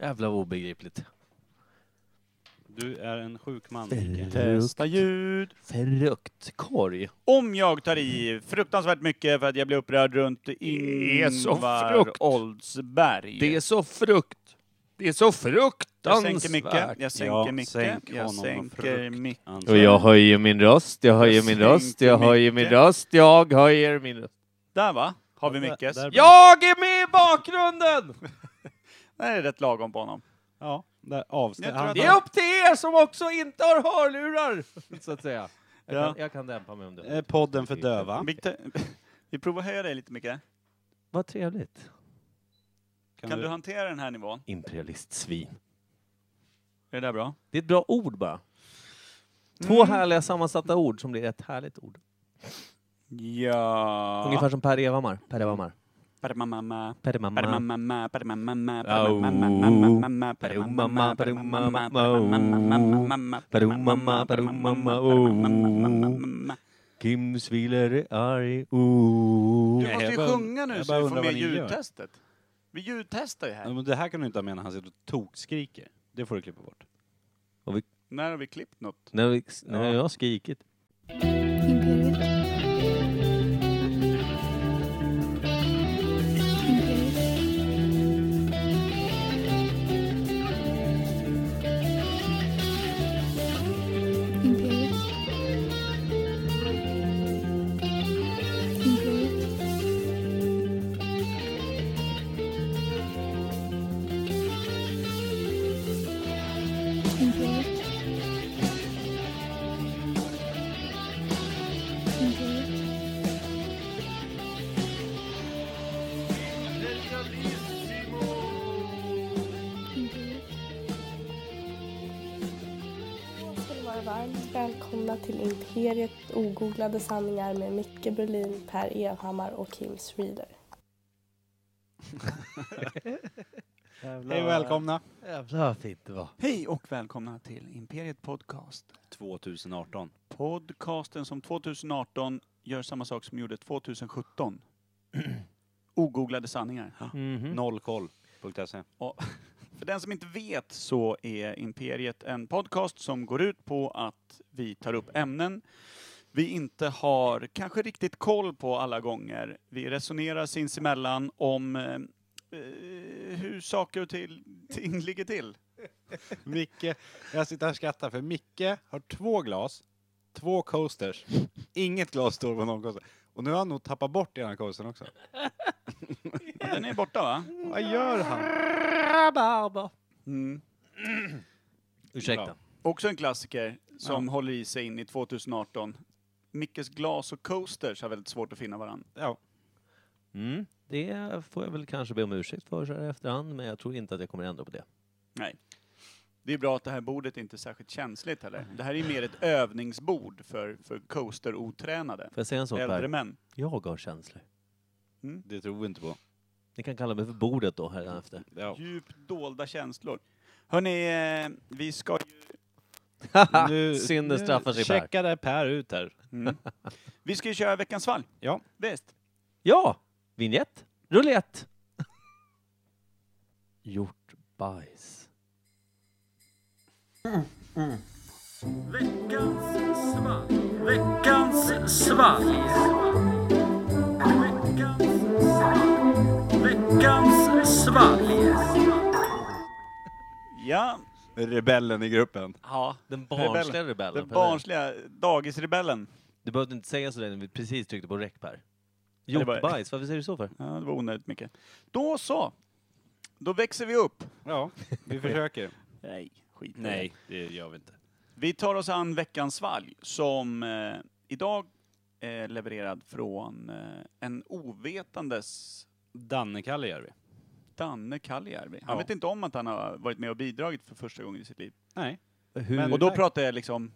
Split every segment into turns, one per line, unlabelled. Jävla obegripligt.
Du är en sjuk man, Micke.
Frukt,
Testa ljud.
fruktkorg.
Om jag tar i fruktansvärt mycket för att jag blir upprörd runt
är så
Ingvar
frukt.
Oldsberg.
Det är så frukt. Det är så
jag
fruktansvärt.
sänker mycket. Jag sänker
Ja,
mycket.
sänk
jag
honom och
sänker
frukt.
mycket.
Antar
Och jag höjer min röst, jag höjer min röst, jag höjer min röst, jag höjer min röst.
Där va? Har vi mycket?
där-
Jag är med i bakgrunden!
Det är rätt lagom på honom.
Ja, där avsteg.
Jag tror
Han,
att
Det är upp till er som också inte har hörlurar, så att säga. Jag,
Ja.
kan, jag kan dämpa mig om det.
Eh, podden för döva.
Vi, te- vi provar höja dig lite mycket.
Vad trevligt.
Kan, du hantera den här nivån?
Imperialistsvin.
Är det där bra?
Det är ett bra ord bara. Två härliga sammansatta ord som blir ett härligt ord.
Ja.
Ungefär som Per Evhammar. Per Evhammar.
Parmamamma,
Per Evhammar.
parmamamma, parmamamma,
Au.
parmamamma, parmamamma,
Parumamma,
parmamamma,
parumamma,
parmamamma,
Parumamma, parumamma,
parmamamma.
Kim Sviler är arg. Ooh.
Du måste ju
jag bara-
sjunga nu
jag
så
bara
vi får
undrar
med
vad ni gör. Mm.
ljudtestet. Vi ljudtestar ju
Ja,
här.
men det här kan du inte ha menat, han sitter och tokskriker. Det får du klippa bort.
När har vi klippt något?
När, vi, när jag har skrikit.
Imperiet. Imperiet. Imperiet. Imperiet. Imperiet. Imperiet. Imperiet.
Då ska ni vara varmt välkomna till Imperiet ogooglade sanningar med Micke Berlin, Per Evhammar och Kim Reader.
Hej och välkomna!
Jävlar vad fint det var.
Hej och välkomna till Imperiet Podcast.
2018.
Podcasten som 2018 gör samma sak som gjorde 2017. Ogooglade sanningar.
Mm.
Mhm.
Nollkoll.se.
För den som inte vet så är Imperiet en podcast som går ut på att vi tar upp ämnen vi inte har kanske riktigt koll på alla gånger. Vi resonerar sinsemellan om eh, eh, hur saker och till, ting ligger till.
Micke, jag sitter här och skrattar för Micke har två glas, två coasters. Inget glas står på någon coaster. Och nu har han nog tappat bort ena coastern också.
Den är borta va?
Vad gör han?
Mm.
Ursäkta.
Också en klassiker som håller i sig in i 2018. Mickes glas och coasters har väldigt svårt att finna varandra.
Ja,
Mm. Det får jag väl kanske be om ursäkt för så här i efterhand, men jag tror inte att jag kommer ändra på det.
Nej. Det är bra att det här bordet inte är särskilt känsligt heller. Det här är ju mer ett övningsbord för, för coaster-otränade.
Får jag säga en sak
Äldre
Per?
män. Mm.
Jag har känslor.
det tror vi inte på.
Ni kan kalla mig för bordet då hädanefter.
Ja.
Djupt dolda känslor. Hörni, eh, vi ska ju,
Synden straffar sig Per.
Checkade Per ut här.
mm. vi ska ju köra veckans fall.
Ja.
Visst?
Ja! Vignett. Roulette. Gjort bajs.
Ja.
Rebellen i gruppen.
ja.
Den barnsliga rebellen.
Den
Per.
barnsliga dagisrebellen.
Du behövde inte säga sådär när vi precis tryckte på räck Per.
det
Gjort
var-
bajs, varför säger du så för?
Ja, det var onödigt mycket. Då så. Då växer vi upp.
Ja, vi försöker.
Nej, skit i det.
Nej, det gör vi inte.
Vi tar oss an veckans svalg som eh, idag är levererad från eh, en ovetandes
Danne-Kalle gör vi.
Danne Kallijärvi. Han
Ja.
vet inte om att han har varit med och bidragit för första gången i sitt liv.
Mm. Nej.
Hur?
Men-
Och då
tack.
pratar jag liksom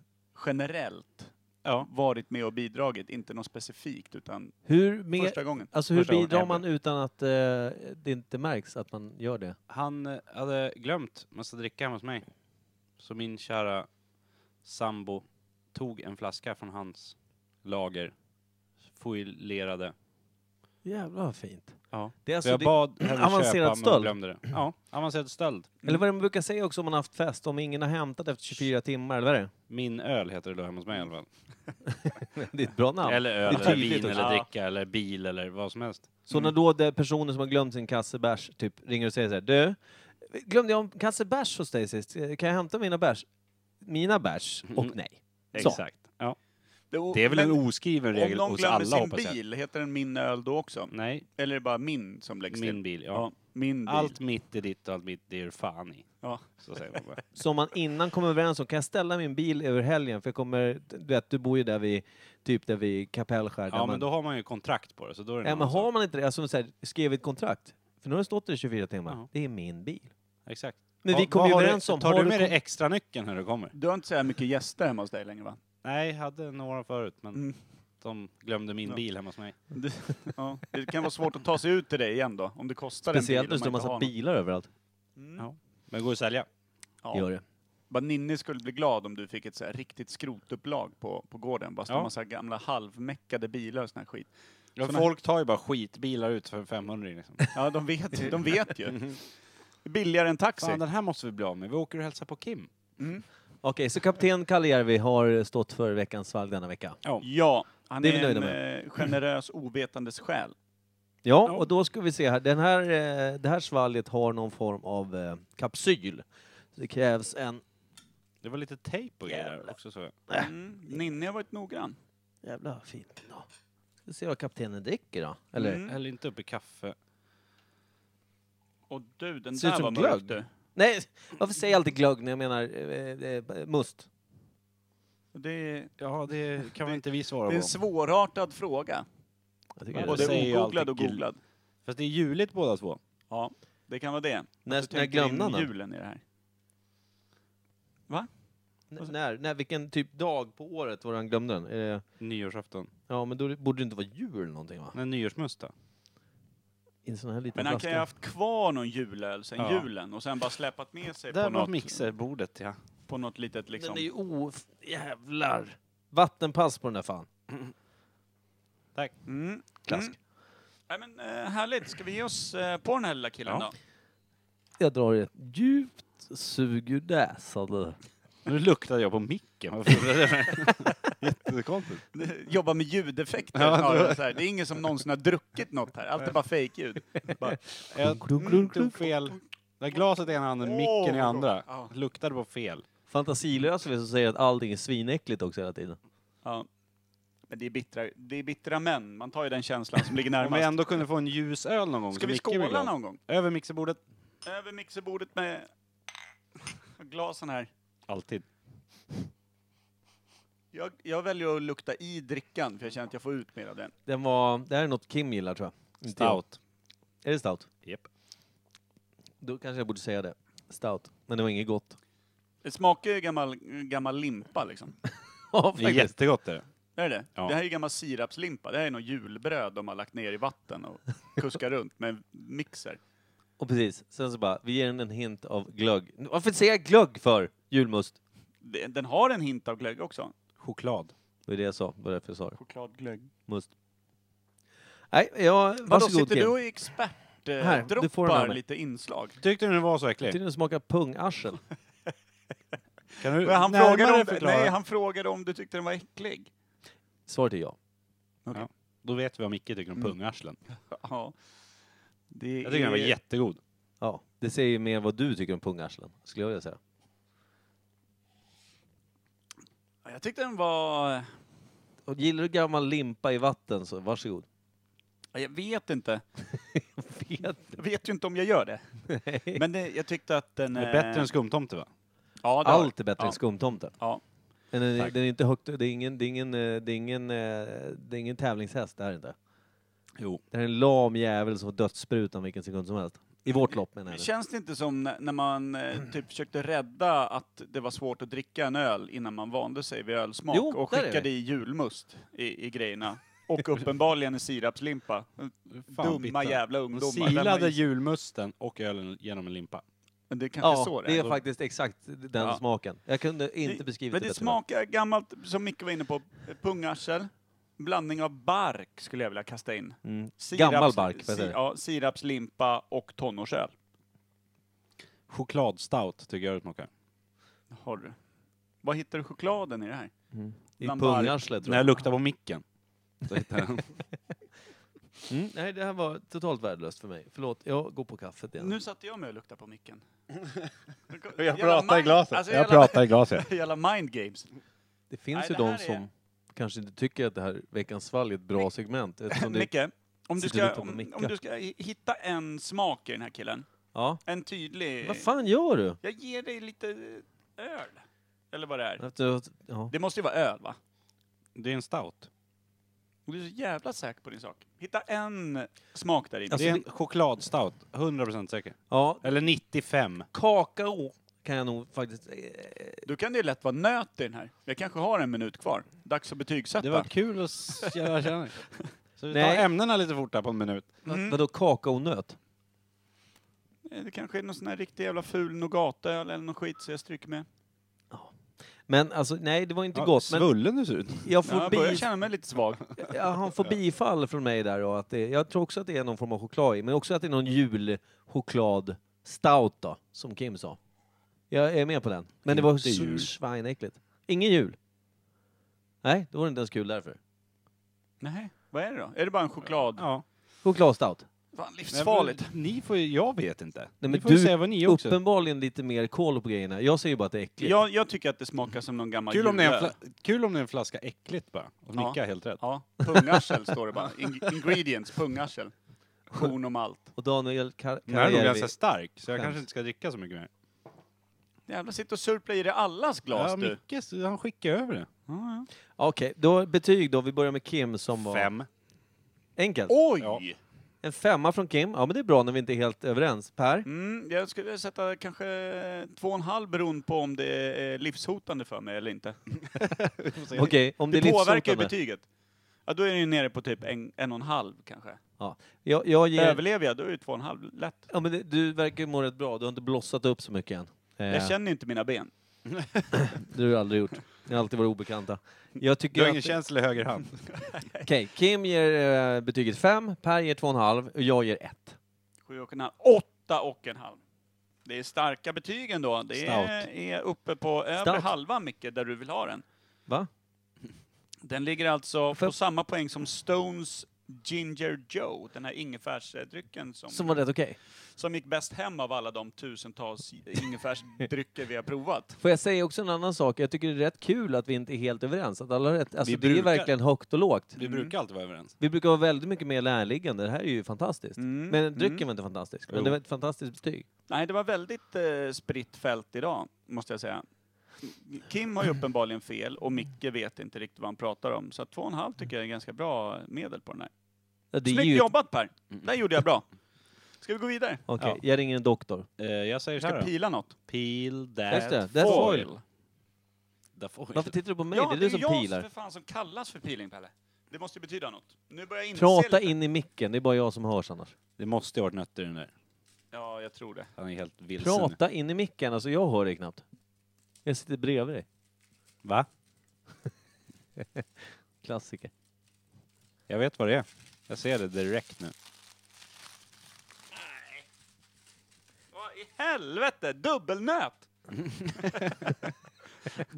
generellt.
Ja.
Varit med och bidragit, inte något specifikt utan
Hur, med,
första gången.
alltså, hur
första gången
bidrar
hemma.
man utan att eh, det inte märks att man gör det?
Han eh, hade glömt massa dricka hemma hos mig. Så min kära sambo tog en flaska från hans lager, foilerade.
Jävlar vad fint.
Ja.
Det är
Så
alltså
jag
det,
bad henne
avancerad
köpa men hon
stöld.
glömde det. Ja, avancerad stöld.
eller vad är det man brukar säga också om man har haft fest, om ingen har hämtat efter 24 timmar, eller vad är det?
Min öl heter det då hemma hos mig i alla fall.
Det är ett bra namn.
Eller öl,
Det är
eller
tydligt
vin,
också.
eller dricka, eller bil eller vad som helst.
Så när då det är personen som har glömt sin kasse bärs typ ringer och säger så här, du, glömde jag en kasse bärs hos dig sist? Kan jag hämta mina bärs? Mina bärs? Och
Mm.
nej. Så.
Exakt. Ja.
och-
Det är väl
men
en oskriven regel
Om de
hos
glömmer
alla
sin
hoppas jag.
bil, heter den min öl då också?
Nej,
Eller är det bara min som läggs till?
min bil. Ja.
Ja, min bil.
Allt mitt är ditt och allt mitt det är fan i.
Ja.
Så säger man bara.
Som man innan kommer överens om, kan jag ställa min bil över helgen? För jag kommer, du vet, du bor ju där vid, typ där vid Kapellskär. där
Ja, men
man-
då har man ju kontrakt på det. Så då är det en
ja, men
annan
har
sak.
man inte det, alltså, så här, skrev ett kontrakt. För nu har det stått där i 24 timmar.
Ja.
Det är min bil.
Exakt.
Men
Ja,
vi kom
vad
ju
har du-
överens om...
Tar
har
du med
kon-
dig extra nyckeln när du kommer?
Du har inte så här mycket gäster hemma hos dig längre va?
Nej, jag hade några förut, men
Mm.
de glömde min
Ja.
bil hemma hos mig.
Det, ja. det kan vara svårt att ta sig ut till dig igen då, om det kostar
Speciellt nu
en
står
bil.
det
om man inte har
massa
någon.
bilar överallt.
Mm.
Men det går att sälja.
Det Gör
Ja.
det.
Bara Ninni skulle bli glad om du fick ett så här riktigt skrotupplag på, på gården. Bara stå
Ja.
massa gamla halvmäckade bilar och sån här skit.
Ja,
Såna-
folk tar ju bara skitbilar ut för 500 liksom.
Ja, de vet ju. De vet ju. Billigare än taxi.
Fan, den här måste vi bli av med. Vi åker och hälsar på Kim.
Mm.
Okej, så kapten Kallijärvi har stått för veckans svalg denna vecka.
Ja, han
Det är vi
är
nöjda
en eh, generös ovetandes själ.
Ja, och då ska vi se här. Den här eh, det här svalget har någon form av eh, kapsyl. Så Det krävs en...
Det var lite tejp och grejer där
Jävlar.
också. Så. jag.
Mm. Ninni har varit noggrann.
Jävla fint. Då. Ska se vad kaptenen dricker då. Eller?
Mm.
Häll inte upp i kaffe.
Och du, den
Ser ut
där
som
var
glögg.
mörk du.
Nej, varför säger jag alltid glögg när jag menar eh, eh, must?
Det är,
Ja, det kan väl inte vi svara
det är
på.
en svårartad fråga.
Jag tycker
Och
det
Både
är
säger ju
ogooglad och
alltid gl-
googlad.
Fast det är juligt båda två.
Ja, det kan vara det.
När-
Så
när
tänker jag
glömde
in
han den?
julen i det här. Alltså-
N- när, när, vilken typ dag på året var det han glömde den? Är det-
Nyårsafton.
Ja, men då borde det inte vara jul eller någonting va?
Nej, nyårsmusta.
I en sån här liten
Men han kan
flaska.
ju ha haft kvar någon julöl sen
Ja.
julen och sen bara släpat med sig på
Där var
något,
mixerbordet, ja.
på något litet liksom.
Den är ju o... Jävlar! Vattenpass på den där fan.
Mm.
Klask.
Mm. Nej, men, eh, härligt, ska vi ge oss eh, på den här lilla killen
Ja.
då?
Jag drar ett djupt sug ur näsan. nu.
Nu luktade jag på micken. Varför är det? Jättekonstigt.
Jobba med ljudeffekter
Ja,
snarare. så här. Det är ingen som någonsin har druckit något här, allt är bara fejkljud. Bara-
Jag tog fel. Där glaset i ena handen, micken i
Åh,
andra.
ja.
Luktade på fel.
Fantasilösa vi som säger att allting är svinäckligt också hela tiden.
Ja. Men det är, bittra, det är bittra män, man tar ju den känslan som ligger
Om vi
närmast.
ändå kunde få en ljus öl någon gång.
Ska
så
vi
Micke blir
skåla
glad.
någon gång?
Över mixerbordet.
Över mixerbordet med glasen här.
Alltid.
Jag, jag väljer att lukta i drickan, för jag känner att jag får ut mer av den.
Den var, det här är något Kim gillar tror jag. Inte jag.
Stout.
Är det stout?
Japp.
Då kanske jag borde säga det. Stout. Men det var inget gott.
Det smakar ju gammal, gammal limpa liksom.
Ja,
Det är
faktiskt.
jättegott är det.
Är det det?
Ja.
Det här är ju gammal sirapslimpa. Det här är något julbröd de har lagt ner i vatten och kuskar runt med en mixer.
Och precis, sen så bara, vi ger den en hint av glögg. Varför säger jag glögg för? Julmust.
Det- Den har en hint av glögg också.
Choklad.
Det var det jag sa, det var därför jag sa det.
Chokladglögg.
Must. Nej, ja,
Vadå,
varsågod
sitter
Kim.
du
Du
och expert, eh,
Här, du får den av
droppar
mig.
lite inslag?
Tyckte du den var så äcklig?
Tydligen smakar pungarsel.
Kan du
Men han,
närmare
frågade om,
förklara?
nej, han frågade om du tyckte den var äcklig.
Svaret är ja.
Då vet vi vad Micke tycker om
Mm.
pungarslen.
Ja. Det
Jag tycker den var
är-
jättegod.
Ja, det säger ju mer vad du tycker om pungarslen, skulle jag vilja säga.
Ja, Jag tyckte den var...
Och gillar du gammal limpa i vatten så varsågod.
ja, Jag vet inte.
Vet.
Jag vet ju inte om jag gör det. Men det, jag tyckte att den...
Den är
eh,
bättre än skumtomte va?
ja, det var-
Allt är bättre
ja.
än skumtomten.
Ja.
Den är,
Tack.
den är inte högt, det är ingen, det är ingen, eh, det är ingen, eh, det är ingen tävlingshäst, det här är inte.
Jo.
Det här är en lam jävel som får dödssprutan vilken sekund som helst. I vårt lopp menar jag nu.
Känns det inte som när, när man eh, typ försökte rädda att det var svårt att dricka en öl innan man vande sig vid ölsmak
Jo,
och
där är
skickade
vi.
i julmust i, i grejerna? Och uppenbarligen i sirapslimpa. Dumma
bitter.
jävla
De
ungdomar. Den
silade
var ju-
julmusten och ölen genom en limpa.
Men det är kanske
Ja,
så
det är faktiskt exakt den
Ja.
smaken. Jag kunde inte
Det-
beskrivit
men
det
det
bättre.
smakar gammalt, som Micke var inne på, eh, pungarsel. blandning av bark skulle jag vilja kasta in.
Mm.
Siraps,
Gammal bark, vad
si,
heter det?
ja, Sirapslimpa och tonårsöl.
Chokladstout tycker jag det smakar.
Har du. Vad hittar du chokladen i det här?
Mm. I
bland bark.
pungarslet tror
När
jag.
jag luktar på micken. Så hittar jag den.
Mm, nej, det här var totalt värdelöst för mig. Förlåt, jag går på kaffet igen.
Nu satte jag mig och luktade på micken.
jag
Jävla
pratar i
mind-
glaset.
alltså
jag
jävla-
pratar i glaset.
Jävla mind games.
det finns
nej,
ju
det
de
här är-
som kanske inte tycker att det här Veckans svalg är ett bra segment. Eftersom det...
Micke, om du,
Sitter
ska,
du på
om,
Micke?
om du ska hi- hitta en smak i den här killen,
Ja.
en tydlig...
Vad fan gör du?
Jag ger dig lite öl. Eller vad det är.
Efter att- Ja.
Det måste ju vara öl, va?
Det är en stout.
Och Du är så jävla säker på din sak. Hitta en smak där i.
Alltså,
det är en chokladstout. 100% säker.
ja,
Eller 95.
kakao kan jag nog faktiskt... eh,
Då kan det ju lätt vara nöt i den här. Jag kanske har en minut kvar. Dags att betygsätta.
Det var kul att s- lära känna Så vi tar
Nej.
ämnena lite fort här på en minut.
Mm.
Vadå kakaonöt?
Eh, Det kanske är någon sån här riktig jävla ful nougatöl eller någon skit så jag stryker med.
Men alltså, nej, det var inte
Ja,
gott. Men
Svullen du ser ut.
jag
Ja,
får
jag börjar
bi...
känna mig lite svag.
Ja, han får bifall från mig där och att det, jag tror också att det är någon form av choklad i, men också att det är någon julchoklad stout då, som Kim sa. Jag är med på den. Men det var
Inte
så
jul.
svinäckligt. Ingen jul. Nej, då var det inte ens kul därför.
Nej, vad är det då? Är det bara en choklad?
Ja.
Chokladstout.
Fan,
Nej, men
livsfarligt.
Ni får ju, jag vet inte.
men
ni får
du-
ju säga vad ni också.
Uppenbarligen lite mer koll på grejerna. Jag säger ju bara att det är äckligt.
Jag, jag tycker att det smakar som någon gammal
Kul om, det är en
julöl.
fla- kul om det är en flaska äckligt bara. Och
Ja.
nicka helt rätt.
Ja, pungarsel står det bara. In ingredients, pungarsel. Korn och malt.
Och Daniel Kar-
Den här är nog
Karajärvi-
ganska stark, så jag
Skäms.
kanske inte ska dricka så mycket mer.
Jävlar, sitt och surpla i dig allas glas
Ja,
du.
Micke, så han skickar över det.
Okej, då betyg då. Vi börjar med Kim som var...
Fem.
Enkelt.
Oj!
Ja.
En femma från Kim. Ja, men det är bra när vi inte är helt överens. Per?
Mm, jag skulle sätta kanske två och en halv beroende på om det är livshotande för mig eller inte.
Okej, om det,
Det,
är
påverkar
livshotande.
ju betyget. Ja, då är det ju nere på typ en, en och en halv kanske.
Ja. Jag, jag ger...
Överlever jag, då är det två och en halv lätt.
Ja, men det- du verkar ju må rätt bra. Du har inte blossat upp så mycket än. Eh,
Jag känner ju inte mina ben.
Det har du aldrig gjort. Ni har alltid varit obekanta. Jag tycker
Du har ingen
att...
känsla i höger hand.
Okej, Kim ger eh, betyget 5, Per ger 2,5 och jag ger 1.
Sju och en halv. Åtta och en halv. Det är starka betyg ändå. Det är,
Stout.
är uppe på övre
Stout.
halvan, Micke, där du vill ha den.
Va?
Den ligger alltså
För-
på samma poäng som Stones Ginger Joe, den här ingefärsdrycken som,
Som
som,
var rätt okej.
gick bäst hem av alla de tusentals ingefärsdrycker vi har provat.
Får jag säga också en annan sak? Jag tycker det är rätt kul att vi inte är helt överens. Att alla har rätt. Alltså,
Vi
det är
brukar-
verkligen högt och lågt.
Vi brukar alltid vara överens.
Vi brukar vara väldigt mycket mer närliggande. Det här är ju fantastiskt.
Mm,
Men drycken
mm.
var inte fantastisk.
Jo.
Men det var ett fantastiskt betyg.
Nej, det var väldigt eh, spritt fält idag, måste jag säga. Kim har ju uppenbarligen fel och Micke vet inte riktigt vad han pratar om. Så att två och en halv tycker jag är ganska bra medel på den här.
Ja, Det är
Snyggt
ju... Mm.
jobbat Per! Där gjorde jag bra. Ska vi gå vidare?
Okej,
Ja.
jag ringer en doktor.
Eh, jag säger
Vi
så här
ska
då.
pila något.
Peel that
Just det, that
foil.
foil.
That foil.
Varför tittar du på mig?
ja,
det är du som
jag
pilar.
för fan som kallas för peeling, Pelle. Det måste ju betyda något. Nu börjar jag inse
Prata
lite.
in i micken, det är bara jag som hörs annars.
Det måste ju ha varit nötter i den där.
Ja, jag tror det.
Han är helt vilsen.
Prata in i micken, alltså jag hör dig knappt. Jag sitter bredvid dig.
Va?
Klassiker.
Jag vet vad det är. Jag ser det direkt nu.
Vad i helvete! Dubbelnöt!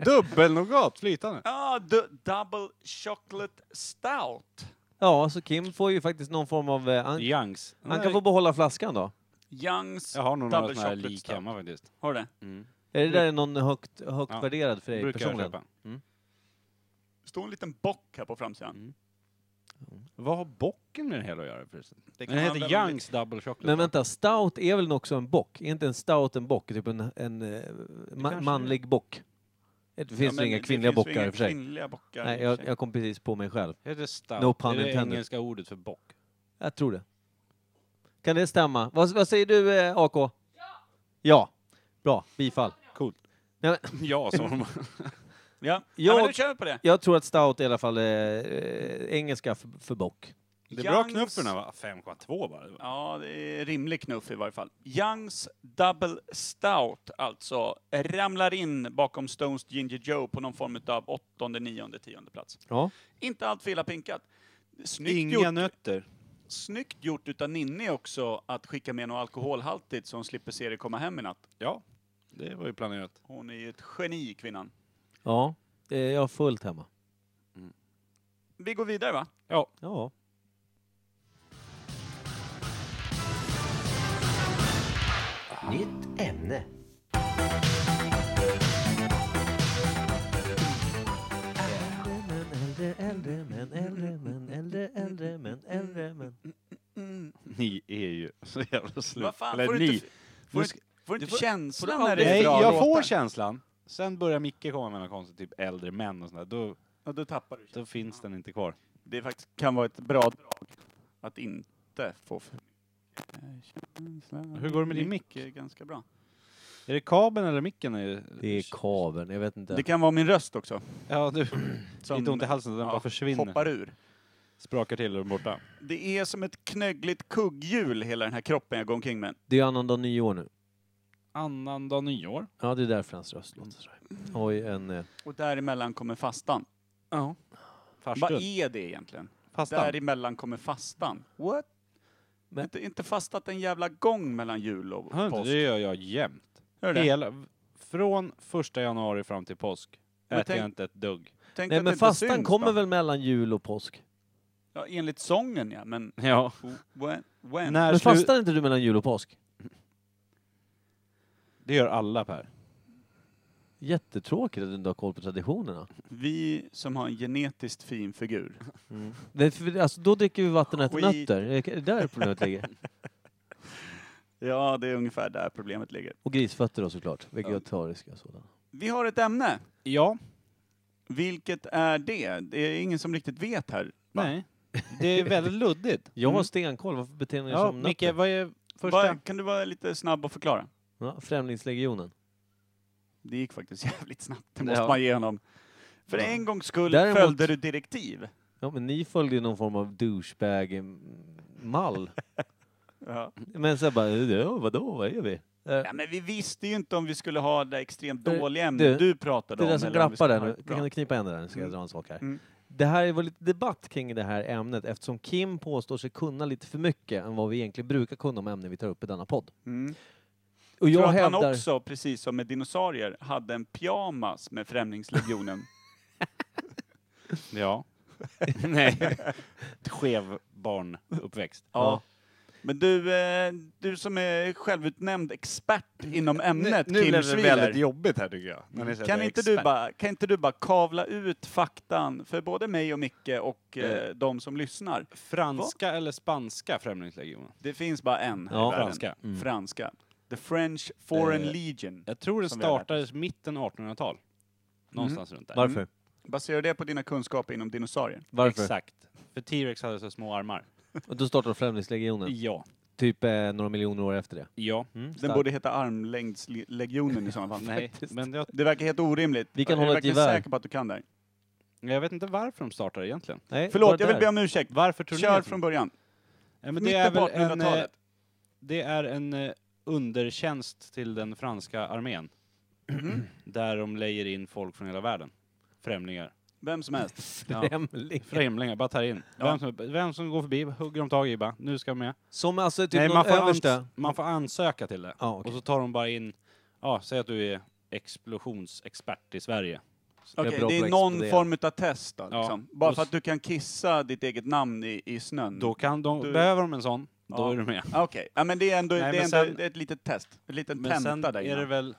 Dubbelnougat flytande.
Ja, du- double chocolate stout.
Ja, så Kim får ju faktiskt någon form av... eh, Han,
Youngs.
han kan få behålla flaskan då.
Youngs
Jag har nog några
double
sådana här
chocolate
lik
stout.
hemma faktiskt.
Har du det?
Är det där någon högt, högt
Ja.
värderad för dig
Brukar jag
personligen?
köpa.
Det står en liten bock här på framsidan.
Mm.
Vad har bocken med den hela att göra förresten?
Det
Den heter
man väl-
Youngs Double Chocolate.
Men vänta, stout är väl också en bock? Är inte en stout en bock? Typ en, en eh, ma
är.
manlig bock? Det finns
Ja,
väl
men
inga
det
kvinnliga
finns ju
bockar i
inga
och för sig?
kvinnliga bockar
Nej,
i och för
jag,
sig.
jag kom precis på mig själv.
Heter stout.
No pun
är det
intended.
engelska ordet för bock?
Jag tror det. Kan det stämma? Vad, vad säger du, eh, AK? Ja! Ja. Bra, bifall.
Coolt.
Nej,
Ja, så har man.
Ja.
Jag-
ja, men då kör vi på det.
Jag tror att stout är i alla fall eh, eh, engelska för, för bock.
Det är bra
Youngs-
knuffarna va? 5,2 bara.
Ja, det är rimlig knuff i varje fall. Youngs Double Stout alltså ramlar in bakom Stones Ginger Joe på någon form av åttonde, nionde, tionde plats.
Ja.
Inte allt för illa pinkat. Snyggt
Inga
gjort,
nötter.
snyggt gjort utav Ninni också att skicka med något alkoholhaltigt så hon slipper se det komma hem i natt.
Ja, det var ju planerat.
Hon är ju ett geni, kvinnan.
Ja, eh, jag har fullt hemma.
Vi går vidare va?
Ja.
Ja.
Nytt ämne.
Äldre men, äldre men, äldre, äldre men, äldre
Mm,
men.
Ni är ju så jävla slut.
Vad fan,
Eller
får du
ni.
inte, får
Nu
du,
ska-
inte- får du
du
inte
får-
känslan
får du
när det
Nej,
är bra
jag
låtar?
får känslan. Sen börjar Micke komma med något konstigt, typ äldre män och sådär. Då,
Ja, då tappar du känslan.
då finns den inte kvar.
Det faktiskt kan vara ett bra drag att inte få för
Hur går det med din mick?
är Ganska bra.
Är det kabeln eller micken? Är...
Det är kaven, jag vet inte.
Det kan vara min röst också.
Ja, du.
Som
Lite ont i halsen, den
ja,
bara försvinner.
hoppar ur.
Sprakar till och är borta.
Det är som ett knöggligt kugghjul hela den här kroppen jag går omkring med.
Det är annandag nyår nu.
Annandag nyår.
Ja, det är därför hans röst låter sådär.
Mm.
Oj, en... eh,
Och däremellan kommer fastan.
Ja.
Vad
Farstun.
är det egentligen?
Fastan.
Däremellan kommer fastan. What?
Men-
Inte, inte fastat en jävla gång mellan jul och
Hör du inte,
påsk.
Det gör jag jämt.
Hör du det?
Hela, från första januari fram till påsk
Men
äter
tänk-
jag inte ett dugg.
Tänk
Nej,
att det
men
inte
fastan
syns
kommer
då.
väl mellan jul och påsk?
Ja, enligt sången ja, men...
Ja.
When?
När
when?
Men
slu-
fastar inte du mellan jul och påsk?
Det gör alla Per.
Jättetråkigt att du inte har koll på traditionerna.
Vi som har en genetiskt fin figur.
Nej, för, alltså, då dricker vi vatten och äter
Skit.
nötter. Är det där problemet ligger?
Ja, det är ungefär där problemet ligger.
Och grisfötter då såklart. Vegetariska sådana.
Vi har ett ämne.
Ja.
Vilket är det? Det är ingen som riktigt vet här. Va?
Nej. Det är väldigt luddigt.
Jag har
Mm.
stenkoll. Varför beter ni er
Ja,
som
Micke,
nötter?
vad är
Bara,
första?
kan du vara lite snabb och förklara?
Ja, Främlingslegionen.
Det gick faktiskt jävligt snabbt, det måste
Ja.
man ge honom. För en gångs skull
Däremot-
följde du direktiv.
Ja, men ni följde ju någon form av douchebag-mall.
Ja.
Men sen bara, ja, vadå, vad är vi? Eh,
men vi visste ju inte om vi skulle ha det extremt
Du-
dåliga ämnet du,
du-
pratade
Det
om.
är den som
eller om vi
glappar
skulle
där
ha
nu.
ett bra-
Kan du knipa igen det där? Nu ska jag
Mm.
dra en sak här.
Mm.
Det här var lite debatt kring det här ämnet eftersom Kim påstår sig kunna lite för mycket än vad vi egentligen brukar kunna om ämnen vi tar upp i denna podd.
Mm.
Och
Tror
jag
att han
hävdar...
också, precis som med dinosaurier, hade en pyjamas med Främlingslegionen.
Ja. Nej. Skev barnuppväxt.
Ja. Men du, eh, du som är självutnämnd expert inom ämnet,
nu
Kim
blev det väldigt
Schwiler.
jobbigt här tycker jag. när ni säger
Kan
att jag är
inte, du
expert.
bara, kan inte du bara kavla ut faktan för både mig och Micke och eh, de som lyssnar?
Franska eller spanska Främlingslegionen?
Det finns bara en här
Ja.
i världen.
Franska.
Mm.
Franska. The French Foreign
Eh,
Legion.
Jag tror det
Som vi har lärt
startades mitten 1800-tal. Någonstans runt där.
Varför?
Baserar det på dina kunskaper inom dinosaurier?
Varför?
Exakt. För T-Rex hade så små armar.
Och då startade Främlingslegionen.
Ja.
Typ eh, några miljoner år efter det.
Ja.
Mm,
Den
starkt.
borde heta Armlängdslegionen i sådana fall.
Nej, men jag,
Det verkar helt orimligt.
Vi kan
är du
hålla ett
verkligen
gevär.
säker på att du kan det här?
jag vet inte varför de startade egentligen.
Nej,
Förlåt,
bara
jag vill
där.
be om ursäkt.
Varför turnén?
Kör från början.
ja, men det är
Mitten på
väl en, eh,
1800-talet.
det är en eh, undertjänst till den franska armén.
Mm.
Där de lejer in folk från hela världen. Främlingar.
Vem som helst.
Ja.
Främling.
Främlingar, bara tar in.
Ja.
Vem, som, vem som går förbi hugger de tag i bara, nu ska jag med.
Som alltså typ
Nej,
någon
man får,
överste.
ans- man får ansöka till det.
Ja, okej.
Och så tar de bara in, ja, säg att du är explosionsexpert i Sverige.
Jag är
Okej,
bra
det
på
är
att
någon
explodera.
form av test då, liksom. Bara
Och
för
s-
att du kan kissa ditt eget namn i, i snön.
Då kan de,
Du-
behöver de en sån, då
Ja.
är du med.
Ah, Okej, ja, men det är ändå,
Nej,
det är
men
ändå
sen-
det är ett litet test. En liten
Men sen
tenta där
är det
innan.
väl,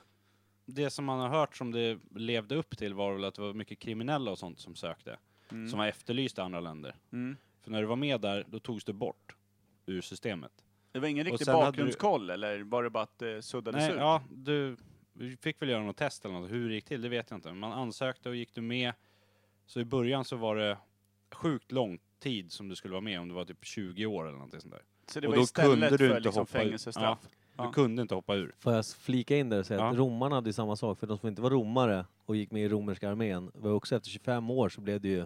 det som man har hört som det levde upp till var väl att det var mycket kriminella och sånt som sökte. Som var efterlysta i andra länder.
Mm.
För när du var med där, då togs du bort ur systemet.
Det var ingen
Och
riktig
sen hade du-
bakgrundskoll, eller var det bara att det suddades
Nej,
ut?
ja, du vi fick väl göra något test eller något. Hur det gick till, det vet jag inte. Men Man ansökte och gick du med. Så i början så var det sjukt lång tid som du skulle vara med om du var typ 20 år eller någonting sånt där.
Så det
och
var
då
istället
kunde du
för
inte
liksom
hoppa ut.
fängelsestraff. Ja.
Du kunde inte hoppa ur.
Får jag flika in där och säga att
Ja.
romarna hade ju samma sak, för de som inte var romare och gick med i romerska armén var ju också efter 25 år så blev det ju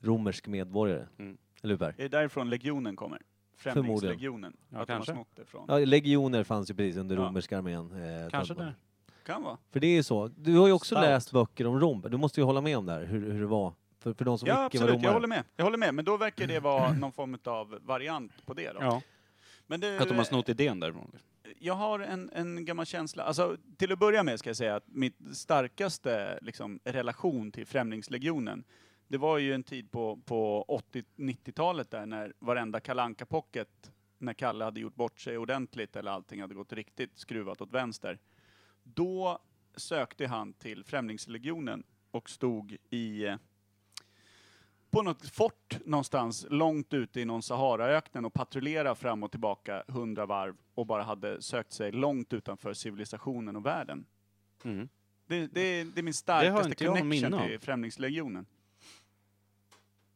romersk medborgare.
Mm.
Eller hur Per?
Är det därifrån legionen kommer? Främlingslegionen?
Ja,
att de har
kanske.
snott det från?
Ja, legioner fanns ju precis under
Ja.
romerska armén. Eh,
Kanske
Tölman.
det.
Kan vara.
För det är ju så. Du har ju också
Stout.
läst böcker om Rom. Du måste ju hålla med om det här, hur, hur det var. För, för de som
Ja,
icke var
absolut.
romare.
Jag håller med. Jag håller med. Men då verkar det vara någon form av variant på det då.
Ja.
Men du,
Att de har snott idén därifrån.
jag har en, en gammal känsla, alltså till att börja med ska jag säga att mitt starkaste liksom, relation till Främlingslegionen, det var ju en tid på, på 80-90-talet där när varenda kalanka pocket när Kalle hade gjort bort sig ordentligt eller allting hade gått riktigt skruvat åt vänster, då sökte han till Främlingslegionen och stod i eh, på något fort någonstans långt ute i någon Saharaöknen och patrullerade fram och tillbaka hundra varv och bara hade sökt sig långt utanför civilisationen och världen.
Mm.
Det, det, det är min
har
starkaste
inte jag någon minne
connection
av.
till Främlingslegionen.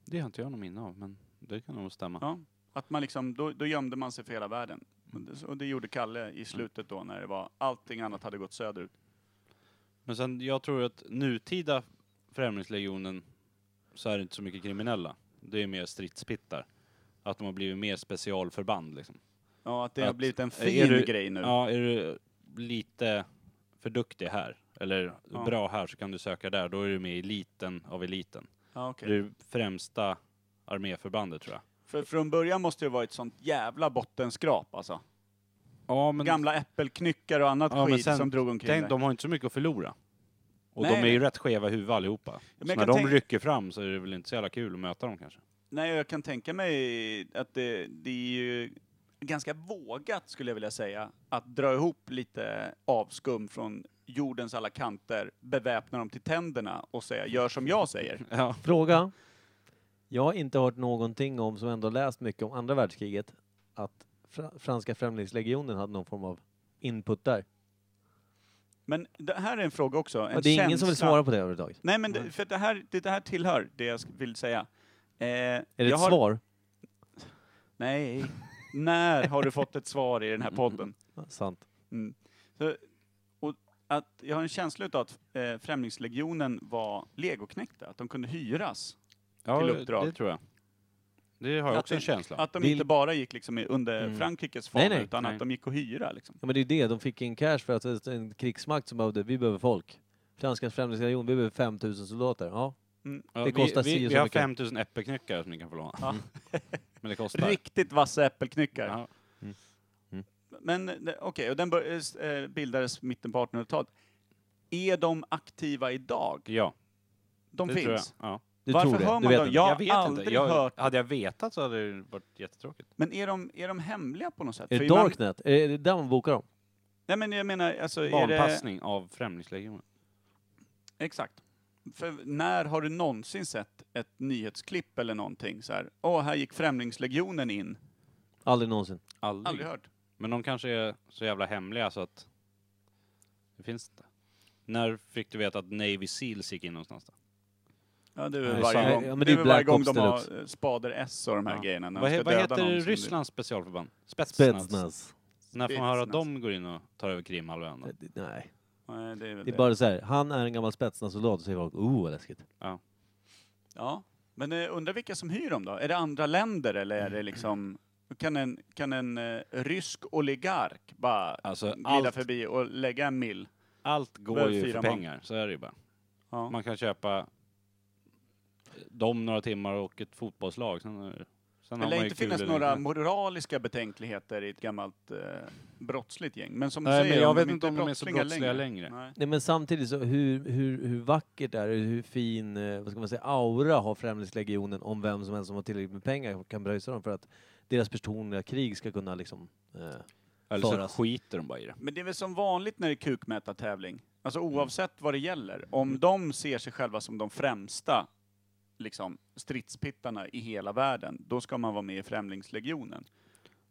Det har inte jag något minne av, men det kan nog stämma.
Ja, att man liksom, då, då gömde man sig för hela världen. Och
Mm.
det, och det gjorde Kalle i slutet då när det var, allting annat hade gått söderut.
Men sen, jag tror att nutida Främlingslegionen så är det inte så mycket kriminella. Det är mer stridspittar. Att de har blivit mer specialförband liksom.
Ja, att det har
Att-
blivit en
är
fin
du-
grej nu.
Ja, är du lite för duktig här, eller
Ja.
bra här, så kan du söka där. Då är du med i eliten av eliten.
Ja, okej.
Det är det främsta arméförbandet tror jag.
För från början måste det vara ett sånt jävla bottenskrap alltså.
Ja, men,
Gamla äppelknyckar och annat
ja, men
skit
sen,
som drog omkring
tänk,
där.
de har inte så mycket att förlora. Och
Nej,
de är ju
nej.
rätt skeva i huvudet allihopa.
men
så
jag
när
kan
de
tänka-
rycker fram så är det väl inte så jävla kul att möta dem kanske.
Nej, jag kan tänka mig att det, det är ju ganska vågat skulle jag vilja säga, att dra ihop lite avskum från jordens alla kanter, beväpna dem till tänderna och säga gör som jag säger.
Ja.
Fråga. Jag har inte hört någonting om, som ändå läst mycket om andra världskriget, att fra- franska främlingslegionen hade någon form av input där.
Men det här är en fråga också. En
Och det är ingen som vill
känsla-
svara på det överhuvudtaget.
Nej, men det, för det här, det, det här tillhör det jag sk- vill säga. Eh, är
Är det ett svar?
Nej. När har du fått ett svar i den här podden?
Ja, sant.
Mm. Så, och att, jag har en känsla av att eh, Främlingslegionen var legoknekta, att de kunde hyras.
Ja,
Till uppdrag.
det tror jag. Det har jag
Att
också en
det-
känsla av.
Att de
Vil-
inte bara gick liksom i- under
Mm.
Frankrikes
Nej,
fana,
nej,
utan
nej.
att de gick och hyra. Liksom.
Ja men det är ju det, de fick in cash för att det är en krigsmakt som behövde, vi behöver folk. Franska främlingslegion, vi behöver 5000 soldater. Ja.
Ja,
det kostar
vi,
si
vi,
och
vi
så
har
mycket.
5000 äppelknyckare som ni kan få låna.
Ja.
Men det kostar.
Riktigt vassa äppelknyckar.
Ja.
Men eh, okej, och den bör, eh, s- eh, bildades mitten på 1800-talet. Är de aktiva idag?
ja,
De
det tror jag.
finns.
Ja.
Du
Varför
tror det? du
hör man
vet
dem?
inte.
Jag har
jag vet
aldrig
inte. Jag,
hört.
Hade jag vetat så hade det varit jättetråkigt.
Men är de, är de hemliga på något sätt?
Är
För
det
man-
Darknet? Är det där man bokar dem?
Nej men jag menar, alltså är det...
Barnpassning av Främlingslegionen.
Exakt. För när har du någonsin sett ett nyhetsklipp eller någonting så här? Åh, här gick Främlingslegionen in.
Aldrig någonsin.
Aldrig.
Aldrig hört.
Men de kanske är så jävla hemliga så att det finns inte. När fick du veta att Navy Seals gick in någonstans? Då?
Ja, det är
Nej,
väl
så-
varje gång,
ja, men
det
det är
är väl varje
Black
gång
Ops
de har
Deluxe.
eh, spader S och de här
Ja.
grejerna. när de
Vad,
ska
he, vad
döda
heter
någon som-
Rysslands specialförband? Spetsnaz.
Spetsnaz.
När får man höra att
Spetsnaz.
de går in och tar över Krimhalvön? då?
Det- det- Nej.
Nej, det är väl
Det
det.
är bara så här, han är en gammal Spetsnaz-soldat, och säger folk oh vad läskigt.
Ja. Men eh, undrar vilka som hyr dem då? Är det andra länder eller är det liksom... Kan en, kan en eh, rysk oligark bara
Alltså,
glida
allt,
förbi och lägga en mil?
allt går
Behöver
ju för
fyra man.
pengar, så är det ju bara.
Ja.
Man kan köpa dem några timmar och ett fotbollslag. Sen, är- sen
Det
har man
lär
ju
inte
kul
finnas
i
några
längden.
moraliska betänkligheter i ett gammalt eh, brottsligt gäng. Men som du
Nej,
säger,
men jag
om
vet inte om de är så
brottslingar
brottsliga längre.
Nej.
Nej men samtidigt så, hur, hur, hur vackert är det, hur fin, eh, vad ska man säga, aura har Främlingslegionen om vem som helst som har tillräckligt med pengar kan pröjsa dem för att deras personliga krig ska kunna liksom... Eh,
Eller så
föras.
skiter de bara i det.
Men det är väl som vanligt när det är kukmätartävling. Alltså
Mm.
oavsett vad det gäller. Om de ser sig själva som de främsta liksom, stridspittarna i hela världen, då ska man vara med i Främlingslegionen.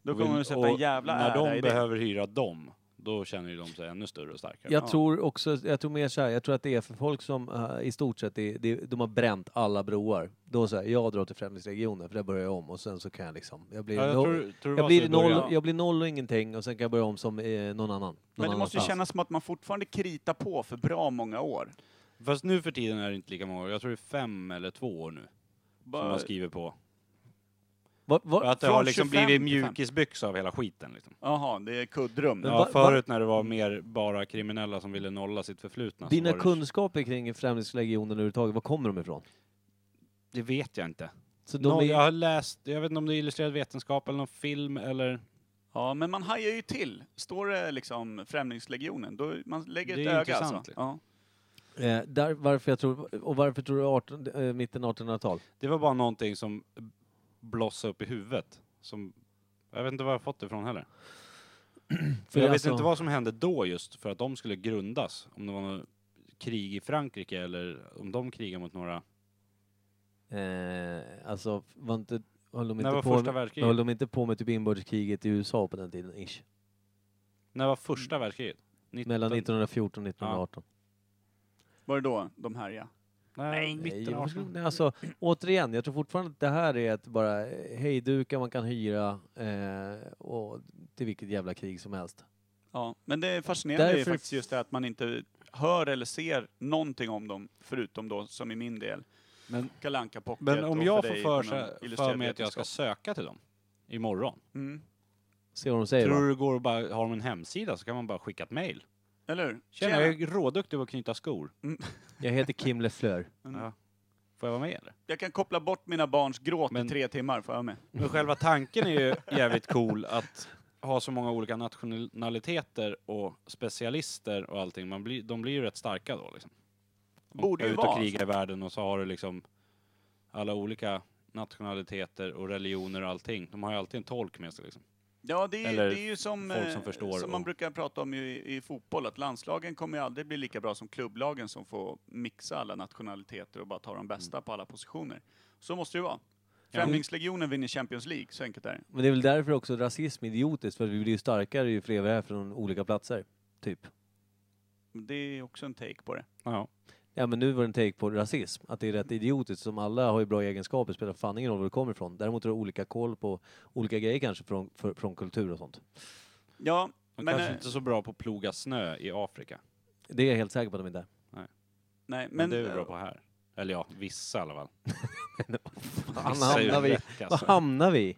Då kommer de sätta en
Och
jävla
När
ära i
de
det.
behöver hyra dem, då känner ju de sig ännu större och starkare.
Jag
Ja.
tror också, jag tror mer så här, jag tror att det är för folk som eh, i stort sett, är, det, de har bränt alla broar. Då så här, jag drar till Främlingslegionen för där börjar jag om och sen så kan jag liksom, jag blir,
Ja, jag
noll,
tror, tror det
jag
var så
blir,
i början.
noll, jag blir noll och ingenting och sen kan jag börja om som eh, någon annan. Någon
Men det måste ju
annanstans.
kännas som att man fortfarande kritar på för bra många år.
Fast nu för tiden är det inte lika många år. Jag tror det är fem eller två år nu som
Bara,
man skriver på.
Vad-
Och
vad-
att det har
Från
liksom
25
blivit
till
mjukisbyxa av hela skiten. Liksom.
Jaha, det är kuddrum.
Men
Ja,
va-
förut när det var mer bara kriminella som ville nolla sitt förflutna. så
Dina
var det-
kunskaper kring Främlingslegionen överhuvudtaget, var kommer de ifrån?
Det vet jag inte.
Så de
Någon,
är,
Jag har läst, jag vet inte om det är illustrerad vetenskap eller någon film eller...
Ja, men man hajar ju till. Står det liksom Främlingslegionen, då man lägger
Det
ett
är ju
öga
intressant,
alltså. Ja.
eh, där, varför jag tror, och varför tror du 18, eh, mitten 1800-tal?
Det var bara någonting som blossade upp i huvudet. Som, jag vet inte var jag fått det ifrån heller. För jag
alltså-
vet inte vad som hände då just för att de skulle grundas. Om det var något krig i Frankrike eller om de krigar mot några...
Eh, alltså, var inte, höll de
När
inte,
var
på,
första
med,
världskriget?
höll de inte på med typ inbördeskriget i USA på den tiden, ish?
När var första världskriget? 19...
Mellan 1914 och 1918.
Var det då de härjade?
Nej,
Nej,
mitten
jag
av
förstod-
1800-talet.
nej, alltså, återigen, jag tror fortfarande att det här är ett bara eh, hejdukar man kan hyra eh, och till vilket jävla krig som helst.
Ja, men det fascinerande är ju
Därför-
faktiskt just det att man inte hör eller ser någonting om dem, förutom då, som i min del,
Mm.
Men-
Kalle Anka Pocket
Men om
och
jag
för
får
dig
för,
någon
sig- för
illustrerad
mig att jag ska
vetenskap.
söka till dem imorgon.
Mm.
Se vad de säger
Tror
va?
du det går att bara, har de en hemsida så kan man bara skicka ett mail.
Eller hur?
Tjena, jag är råduktig på att knyta skor.
Jag heter Kim Lefleur.
Mm.
Ja. Får jag vara med eller?
Jag kan koppla bort mina barns gråt
Men-
i tre timmar, får jag med?
Men själva tanken är ju jävligt cool att ha så många olika nationaliteter och specialister och allting. Man blir, de blir ju rätt starka då liksom. De
Borde
är
ju
ute och
vara.
krigar i världen och så har du liksom alla olika nationaliteter och religioner och allting. De har ju alltid en tolk med sig liksom.
Ja, det är,
Eller
det är ju som,
folk som
eh,
förstår
som man
och-
brukar prata om ju i, i fotboll, att landslagen kommer ju aldrig bli lika bra som klubblagen som får mixa alla nationaliteter och bara ta
Mm.
de bästa på alla positioner. Så måste det vara. Främlingslegionen vinner Champions League, så enkelt är det.
Men det är väl därför också rasism är idiotiskt, för vi blir ju starkare ju fler vi är från olika platser. Typ.
Det är också en take på det.
Ja.
Ja men nu var det en take på rasism, att det är rätt idiotiskt som alla har ju bra egenskaper, spelar fan ingen roll var du kommer ifrån. Däremot har du olika koll på olika grejer kanske från, för, från kultur och sånt.
Ja,
De
men,
kanske
eh,
inte är så bra på att ploga snö i Afrika.
Det är jag helt säker på att de inte är.
nej,
Men,
men,
det är vi bra
eh,
på här. Eller ja, vissa i alla fall.
Fan,
Vissa är ju
hamnar vi,
vräk,
var
alltså.
hamnar vi?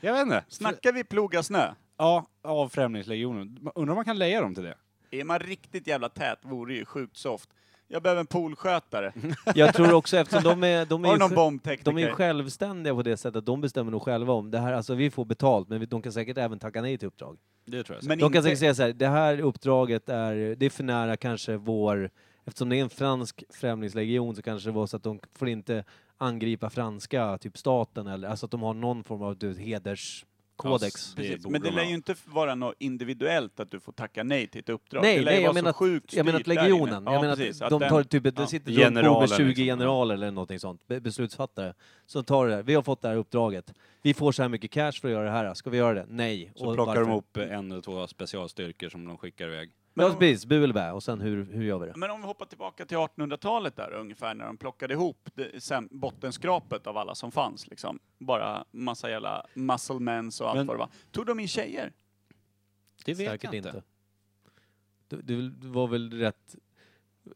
Jag vet inte.
Snackar vi ploga snö?
Ja, av Främlingslegionen. Undrar om man kan leja dem till det?
Är man riktigt jävla tät vore det ju sjukt soft. Jag behöver en poolskötare.
Jag tror också eftersom de är, de är,
Har du
ju, sj-
någon
de är
bombtekniker?
ju självständiga på det sättet att de bestämmer nog själva om det här, alltså vi får betalt men vi- de kan säkert även tacka nej till uppdrag.
Det tror jag.
Men
De kan
inte-
säkert säga så här, det här uppdraget är, det är för nära kanske vår, eftersom det är en fransk främlingslegion så kanske det var så att de får inte angripa franska, typ staten eller, alltså att de har någon form av du, vet, hederskodex.
Ja,
Precis,
Det
men det
borde
lär
man
ju
ha.
inte f- vara något individuellt att du får tacka nej till ett uppdrag.
Nej,
det lär ju
nej, jag
vara så
menar att-
sjukt
Jag menar att
styrt där inne.
legionen,
Ja,
jag menar
precis,
att de
den-
tar typ, det
ja.
sitter runt bord med
Generaler
20
liksom, ja.
generaler eller någonting sånt, be- beslutsfattare, som tar det där. Vi har fått det här uppdraget. Vi får så här mycket cash för att göra det här, ska vi göra det? Nej.
Så
Och
plockar de
varför?
upp en eller två specialstyrkor som de skickar iväg.
Ja, precis, bu eller bä, och sen hur, hur gör vi det?
Men om vi hoppar tillbaka till 1800-talet där ungefär när de plockade ihop det, sen, bottenskrapet av alla som fanns liksom. Bara massa jävla musclemans och allt
Men-
vad det var. Tog de in tjejer?
Det
Säkert inte. Det, det var väl rätt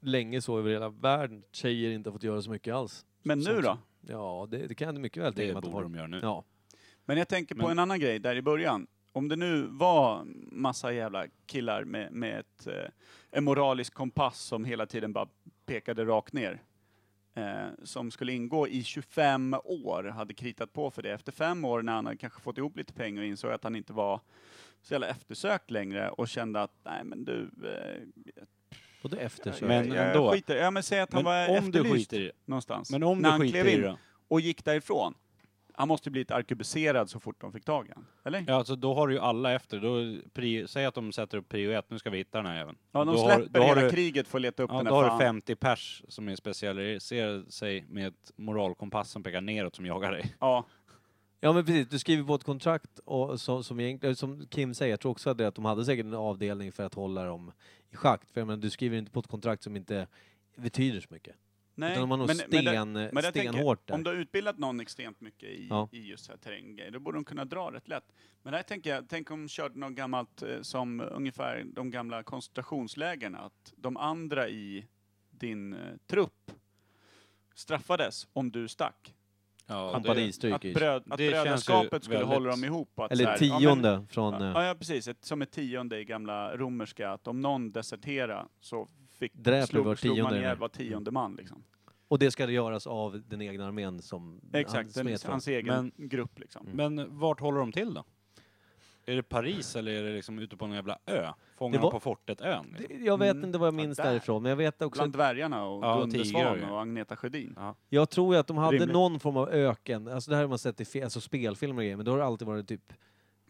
länge så över hela världen, tjejer inte har fått göra så mycket alls.
Men nu
Sånt.
då?
Ja, det, det kan jag mycket väl
Det
tänka mig att de
borde
har.
de göra nu.
Ja.
Men jag tänker på
Men-
en annan grej där i början. Om det nu var massa jävla killar med, med ett, eh, en moralisk kompass som hela tiden bara pekade rakt ner. Eh, som skulle ingå i 25 år, hade kritat på för det. Efter fem år när han hade kanske fått ihop lite pengar och insåg att han inte var så jävla eftersökt längre och kände att, nej men du... Eh,
Och det eftersök.
Men
jag, jag
ändå.
skiter Ja men säg att han
Men
var
om du
efterlyst
skiter i det.
någonstans.
Men om
när
du
han
skiter
klev
i det
in
då?
och gick därifrån. Han måste blivit arkebuserad så fort de fick tag i honom, eller?
Ja, alltså då har du ju alla efter. Då, pri, säg att de sätter upp prio ett, nu ska vi hitta den här även.
Ja, de
då
släpper
då
hela
du,
kriget för att leta upp
Ja,
den här
då har du
fan.
50 pers som är specialiserade sig med ett moralkompass som pekar neråt som jagar dig.
Ja,
Ja men precis, du skriver på ett kontrakt och som, som, egentligen- som Kim säger, jag tror också att, det, att de hade säkert en avdelning för att hålla dem i schack. För jag menar, du skriver inte på ett kontrakt som inte betyder så mycket.
nej.
Utan de har nog
men det-
sten,
men jag tänker,
stenhårt där.
Om du har utbildat någon extremt mycket i,
Ja.
i just så här terränggrejer, då borde de kunna dra rätt lätt. Men här tänker jag, tänk om de körde något gammalt eh, som ungefär de gamla koncentrationslägren, att de andra i din eh, trupp straffades om du stack.
Ja,
Han
det-
Parisstryk
Att,
i.
bröd, att
Det känns ju
bröderskapet skulle
väldigt-
hålla dem ihop. Att så
Eller
här,
tionde
Ja,
från...
men,
eh,
ja, ja, precis. Ett, som ett tionde i gamla romerska, att om någon desertera så fick,
Dräper var
slog, slog man
tionde.
ihjäl var tionde man. Liksom.
Och det ska det göras av den egna armén som
Exakt,
han
den,
smet Mm. från.
hans egen grupp. Liksom.
Men vart håller de till då? Är det Paris eller är det liksom ute på någon jävla ö? Fångarna
Det var-
på fortet-ön? Liksom?
Det- Jag vet
Mm.
inte vad jag minns
Ja, där.
därifrån, men jag vet också...
Bland dvärgarna och
Ja,
Gunde
tigrar,
Svan
ja.
och Agneta Sjödin.
Jag tror ju att de hade
Rimligt.
någon form av öken, alltså det här har man sett i fe- alltså spelfilmer och grejer, men då har det alltid varit typ...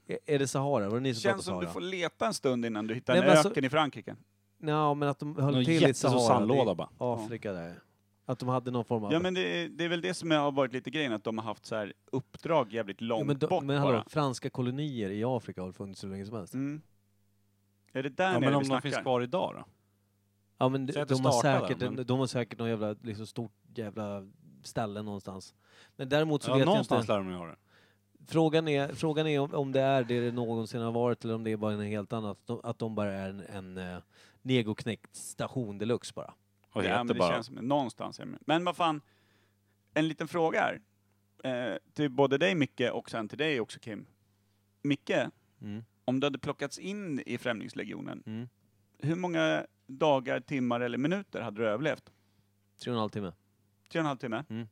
Är- Är det Sahara? Var det ni som
Känns som
pratade
du
Sahara?
får leta en stund innan du hittar
Nej,
en
men alltså-
öken i Frankrike.
Nja, men att de höll
Någon
till i
jättestor
Sahara.
sandlåda
det-
bara.
Afrika där. Att de hade någon form av...
Ja men det, det är väl det som har varit lite grejen, att de har haft så här uppdrag jävligt långt
Ja, men, då-
bort
men hallå,
bara.
franska kolonier i Afrika har väl funnits hur länge som helst?
Mm. Är det där
Ja,
nere
men om
vi
de
snackar?
finns kvar idag då?
Ja men de,
Säg att det
de, har
startade,
säkert, en-
men-
de har säkert någon jävla, liksom stort jävla ställe någonstans. Men däremot så
Ja,
vet jag
någonstans
inte.
lär de ju ha det.
Frågan är, frågan är om, om det är det det någonsin har varit eller om det är bara en helt annat, att de, att de bara är en, en eh, negoknäckt station deluxe bara.
Och
ja,
heter
men det
bara...
känns som någonstans. är det. Men vad fan, en liten fråga här. Eh, till både dig Micke och sen till dig också Kim. Micke,
Mm.
om du hade plockats in i Främlingslegionen,
Mm.
hur många dagar, timmar eller minuter hade du överlevt?
Tre och en halv timme.
Tre och en halv timme.
Mm.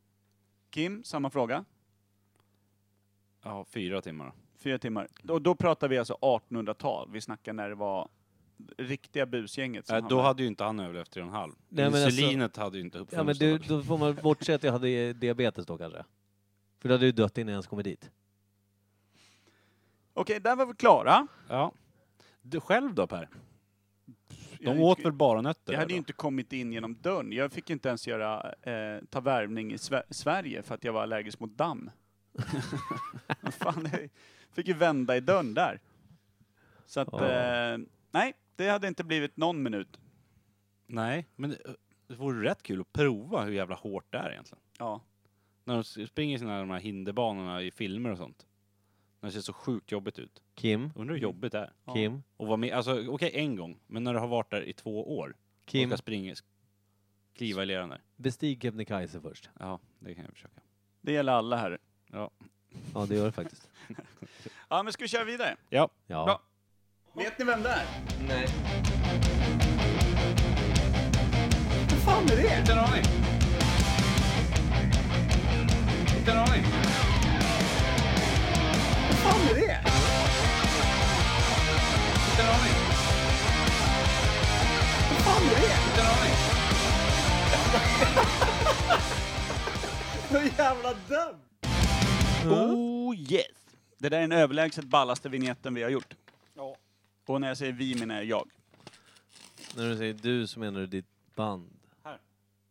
Kim, samma fråga.
Ja, fyra timmar då.
Fyra timmar. Och då pratar vi alltså 1800-tal. Vi snackar när det var riktiga busgänget. som
Nej, då
hamnade.
hade ju inte han överlevt tre och en halv.
Nej, men
Insulinet hade ju inte
Ja men
uppfunnits.
du,
då.
då får man bortse att jag hade eh, diabetes då kanske. För då hade du dött innan jag ens kommit dit.
Okej, där var vi klara.
Ja. Du själv då Per?
Jag
De
gick-
åt väl bara nötter?
Jag
där
hade
då?
ju inte kommit in genom dörren. Jag fick inte ens göra, eh, ta värvning i Sve- Sverige för att jag var allergisk mot damm. Vad Fan, jag fick ju vända i dörren där. Så att,
Ja.
eh, nej, det hade inte blivit någon minut.
Nej, men det, det vore rätt kul att prova hur jävla hårt det är egentligen.
Ja.
När de s- springer sina de här hinderbanorna i filmer och sånt. När det ser så sjukt jobbigt ut.
Kim,
Undrar hur jobbigt det är.
Ja.
Kim,
Och vara med, alltså okej en gång, men när du har varit där i två år.
Kim,
Och ska springa, kliva i leran där.
bestig Kebnekaise först.
Ja, det kan jag försöka.
Det gäller alla här.
Ja det gör det faktiskt.
Ja, men ska vi köra vidare?
Ja,
Ja.
Bra. Vet ni vem det är?
Nej.
Vad fan är det? Inte en aning. Inte en aning. Vad fan är det? Inte en aning. Vad fan är det? Inte en aning. Så jävla dum! Oh yes! Det där är den överlägset ballaste vignetten vi har gjort. Och när jag säger vi menar jag jag.
När du säger du så menar du ditt band.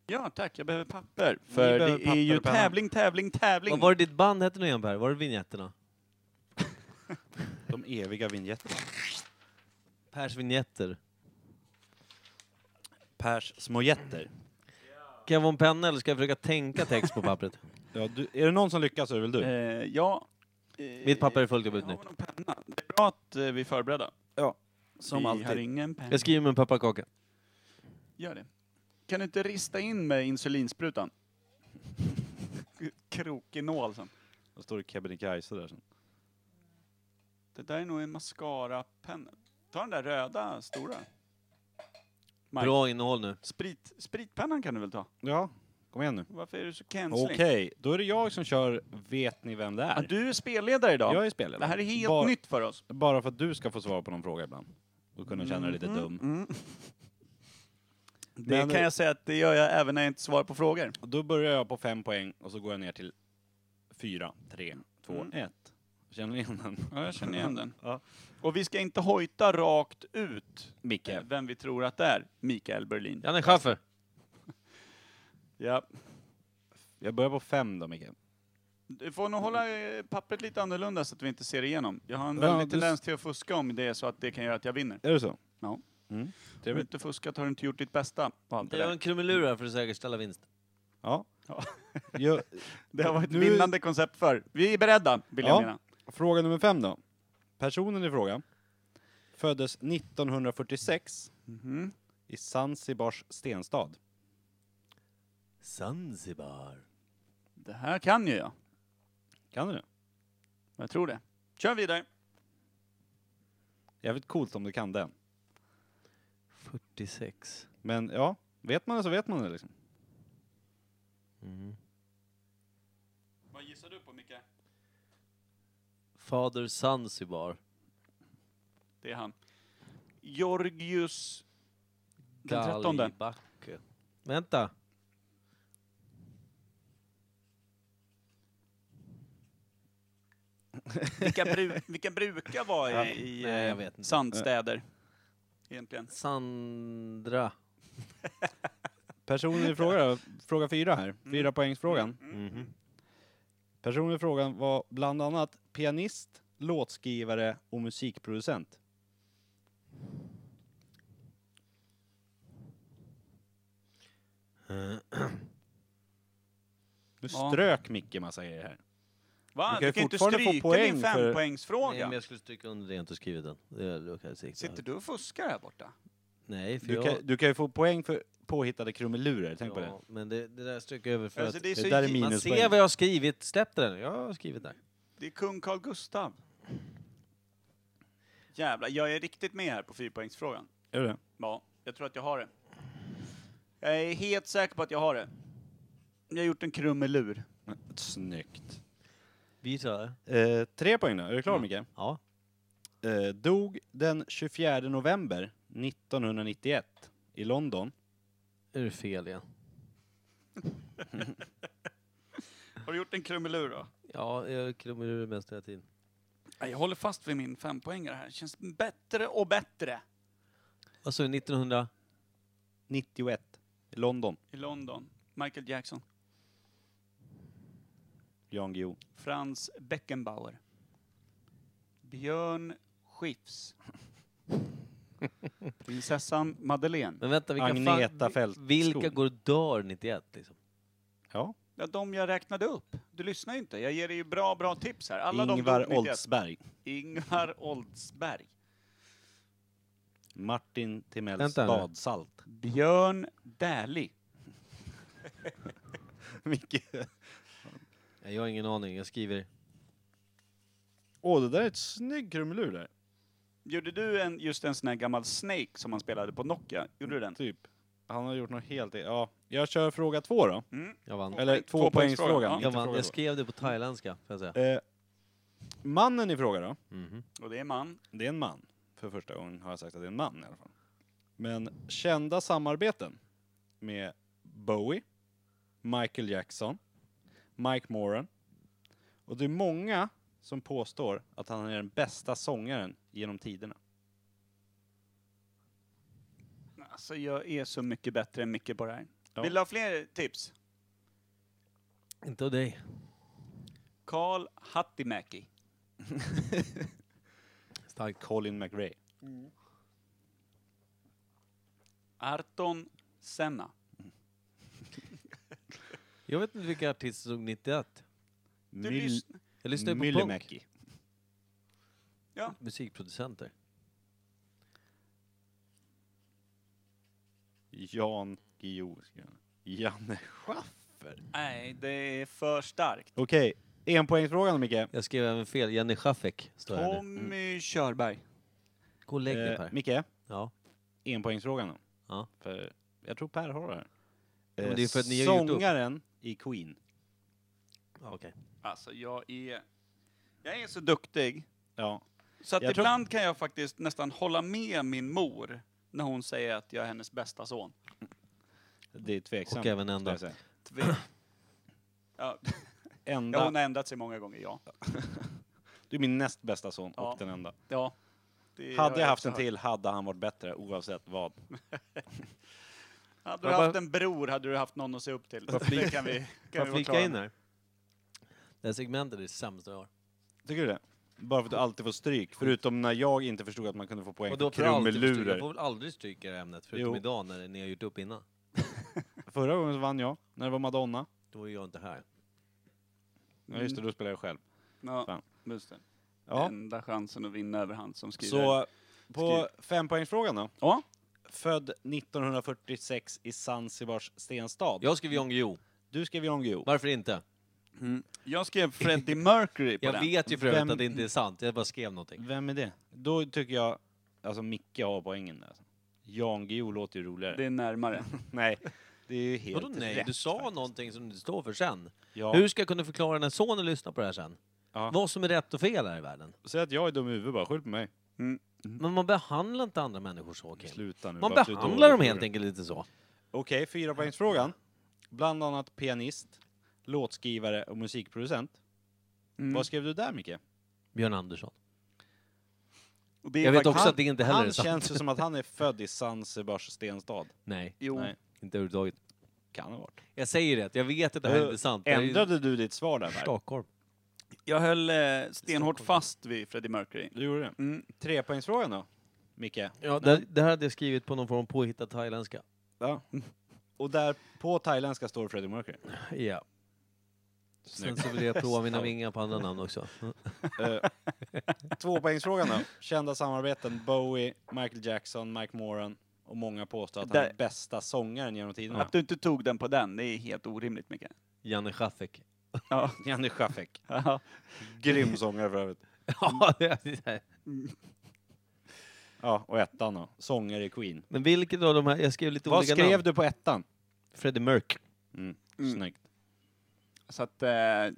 Ja, tack. Jag behöver papper. För
behöver
det är
papper
ju
och penna.
tävling, tävling, tävling.
Vad var det ditt band hette nu igen Per? Var det Vinjetterna?
de eviga vinjetterna.
Pers Vinjetter.
Pers små jätter.
Kan jag vara en penna eller ska jag försöka tänka text på pappret?
Ja, du, är det någon som lyckas så är det väl du?
Eh, ja. Eh,
Mitt papper är fullt
jag
jobbigt
har
nu.
någon penna. Det är bra att eh, vi är förberedda.
Som
vi har
alltid.
ingen penna.
Jag skriver med en pepparkaka.
Gör det. Kan du inte rista in med insulinsprutan? Krokig nål sen.
Då står det Kebnekaise där sen.
Det där är nog en mascara-penna. Ta den där röda, stora. Mike,
Bra innehåll nu.
Sprit, spritpennan kan du väl ta?
Ja, kom igen nu.
Varför är du så canceling?
Okej, då är det jag som kör Vet ni vem det
Ja,
är?
du är spelledare idag.
Jag är spelledare.
Det här är helt
Bara-
nytt för oss.
Bara för att du ska få svar på någon fråga ibland. Och kunna känna dig lite dum.
Mm, Det
Men-
kan jag säga att det gör jag även när jag inte svarar på frågor.
Då börjar jag på fem poäng och så går jag ner till fyra, tre, två,
Mm.
ett. Känner ni igen den?
Ja, jag känner igen den.
Ja.
Och vi ska inte hojta rakt ut
Micke.
eh, vem vi tror att det är. Mikael Berlin.
Janne Schaffer.
Ja.
Jag börjar på fem då, Micke.
Du får nog hålla eh, pappret lite annorlunda så att vi inte ser igenom. Jag har
Ja,
en väldig
du-
tendens till att fuska om det är så att det kan göra att jag vinner.
Är det så?
Ja.
Mm.
Har du
Trevligt.
inte fuskat har du inte gjort ditt bästa. på allt det,
Jag har
där.
en krumelur här för att säkerställa vinst.
Ja.
Ja.
Jag,
det har varit ett
Nu-
vinnande koncept för. Vi är beredda, vill jag
Ja.
mena.
fråga nummer fem då. Personen i fråga föddes 1946
Mhm.
i Zanzibars stenstad.
Zanzibar.
Det här kan ju jag.
Kan du det?
Jag tror det. Kör vidare.
Jävligt coolt om du kan den.
46.
Men ja, vet man det så vet man det liksom.
Mm.
Vad gissar du på, Micke?
Fader Zanzibar.
Det är han. Georgius den trettonde.
Galibacke. Vänta.
Vilka, bru- vilka brukar vara i, i
Nej, jag
eh,
vet inte.
sandstäder? Egentligen.
Sandra.
Personen i fråga då, fråga fyra här. Fyra poängsfrågan.
Mhm.
Personen i frågan var bland annat pianist, låtskrivare och musikproducent. Nu
Ja.
strök Micke massa grejer här.
Va?
Du kan
Du
ju
kan inte
fortfarande få
stryka
poäng
din
för-
Nej,
fempoängsfråga.
men jag skulle stryka under det och inte skrivit den. Det lukar säkert.
Sitter du och fuskar här borta?
Nej, för
Du
jag...
kan, du kan ju få poäng för påhittade krumelurer, tänk på det.
Ja, men det, det där stryker jag över för
Alltså,
att...
det, är
det där är
så,
min-
Man
minuspoäng.
ser vad jag har skrivit. Släpp det där nu. Jag har skrivit där.
det är kung Carl Gustav. Jävlar, jag är riktigt med här på fyrpoängsfrågan.
Är det?
Ja, jag tror att jag har det. Jag är helt säker på att jag har det. Jag har gjort en krumelur.
Snyggt.
Vi tar det.
Eh, tre poäng då, är du klar Micke?
Ja.
Eh, dog den 24 november 1991 i London.
Är det fel igen?
Har du gjort en krumelur då?
Ja, jag krummar ur det mesta hela tiden.
Nej, Jag håller fast vid min fempoängare här. Känns bättre och bättre
Vad sa du? 1900?
91. I London.
i London. Michael Jackson.
Jan Guillou.
Franz Beckenbauer. Björn Skifs. Prinsessan Madeleine.
Men vänta, vilka
Agneta
fan...
Fältskog.
Vilka går och dör 91 liksom?
Ja.
Ja, de jag räknade upp. Du lyssnar ju inte. Jag ger dig ju bra, bra tips här. Alla de
Ingvar
dog 91.
Oldsberg.
Ingvar Oldsberg.
Martin Timells
Vänta nu.
badsalt.
Björn Dählie.
Micke.
Nej, Jag har ingen aning. Jag skriver...
Åh, det där är ett snygg krumelur där.
Gjorde du en, just en sån här gammal Snake som man spelade på Nokia? Gjorde du den?
Typ. Han har gjort något helt... e- Ja, jag kör fråga två då.
Jag vann.
Eller
Två poängsfrågan,
tvåpoängsfrågan.
ja.
inte
Jag, vann.
fråga
jag
två.
skrev det på thailändska, får jag säga.
Eh, mannen i fråga då.
Mhm.
Och det är man.
Det är en man. För första gången har jag sagt att det är en man i alla fall. Men kända samarbeten med Bowie, Michael Jackson, Mike Moran. Och det är många som påstår att han är den bästa sångaren genom tiderna.
Alltså jag är så mycket bättre än Micke på det här.
Ja.
Vill du ha fler tips?
Inte av dig.
Karl Hattimäki.
Starkt.
Colin McRae.
Arton Senna.
Jag vet inte vilka artister som dog 91.
Du
Myl-
lyssn-
Jag lyssnar ju på punk.
Myllymäki.
Musikproducenter.
Jan Guillou. skrev han. Janne Schaffer.
Nej, det är för starkt.
Okej, enpoängsfrågan Micke.
Jag skrev även fel. Jenny Schaffek står
Mm.
här nu.
Tommy Körberg.
Gå och lägg dig
Eh,
Per.
Micke,
Ja.
enpoängsfrågan då.
Ja.
För jag tror Per har det här. Eh,
men det är för att ni har gjort upp.
Sångaren i Queen.
ja okej.
Alltså jag är... Jag är så duktig.
Ja.
Så att
Jag tror-
ibland kan jag faktiskt nästan hålla med min mor när hon säger att jag är hennes bästa son.
Det är tveksamt.
Och även
skulle jag
ändå.
säga.
Tve-
Mm.
ja, ja, hon
Enda.
har ändrat sig många gånger, ja.
Du är min näst bästa son
Ja.
och den enda.
ja det har
Hade jag haft
också
en
hört.
till hade han varit bättre oavsett vad.
Hade du
Jag bara-
haft en bror hade du haft någon att se upp till. Det kan vi,
Kan jag
kan vi vara
flika
klara
in
med.
här? Det här segmentet är det sämsta jag har.
Tycker du det? Bara för att du alltid får stryk. Förutom när jag inte förstod att man kunde få poäng
Och
för
då får jag, alltid få stryk. jag
krumelurer.
får väl aldrig stryka i det här ämnet, förutom
Jo.
idag när ni har gjort upp innan.
Förra gången så vann jag, när det var Madonna.
Då är jag inte här.
Ja just det, då spelade jag själv.
Mm. Ja,
Fan.
just det.
Ja.
Enda chansen att vinna över han som skriver.
Så på fempoängsfrågan då.
Ja.
Född 1946 i Zanzibars stenstad.
Jag skriver Jan Guillou.
Du skrev Jan Guillou.
Varför inte?
Mm. Jag skrev Freddie Mercury på
Jag
den.
vet ju för övrigt
Vem-
att det inte är sant, jag bara skrev någonting.
Vem är det? Då tycker jag, alltså Micke har poängen där. Jan Guillou låter ju roligare.
Det är närmare.
Nej, det är ju helt
Vadå nej?
rätt.
Du sa någonting som du inte står för sen.
Ja.
Hur ska jag kunna förklara när sonen lyssnar på det här sen?
Ja.
Vad som är rätt och fel här i världen.
Säg att jag är dum i huvudet bara, skyll på mig.
Men man behandlar inte andra människor så, Kim.
Sluta nu.
Man
bara för att du är
behandlar
dålig
dem
på
helt
det.
enkelt lite så.
Okej, fyrapoängsfrågan. Bland annat pianist, låtskrivare och musikproducent.
Mm.
Vad skrev du där Micke?
Björn Andersson.
Och det är
Jag vet
faktiskt-
också att det inte heller är
Han
sant.
känns ju som att han är född i San Sebastian stad.
Nej,
Jo,
Nej,
inte överhuvudtaget.
kan ha varit.
Jag säger det, jag vet att det här
Eh,
inte är sant. Det här är ju
Ändrade du ditt svar där? Per?
Stockholm.
jag höll eh, stenhårt fast vid Freddie Mercury.
Du gjorde det.
Mm.
Trepoängsfrågan då, Micke.
Ja, det, det här hade jag skrivit på någon form av påhittad thailändska.
Ja. Och där på thailändska står Freddie Mercury.
Ja. Sen
Snyggt.
så vill jag prova mina vingar på andra namn också.
Eh, Tvåpoängsfrågan då. Kända samarbeten Bowie, Michael Jackson, Mike Moran och många påstår att han är
Där-
bästa sångaren genom tiderna.
Att du inte tog den på den, det är helt orimligt mycket.
Janne Schaffek.
Ja.
Janne Schafek. Grym sångare för övrigt.
Ja, det är-
Ja, och ettan då. Sångare i Queen.
Men vilket av de här, jag skrev lite
Vad
olika
skrev
namn.
du på ettan?
Freddie Merc.
Mm.
Mm.
Snyggt.
Så att eh,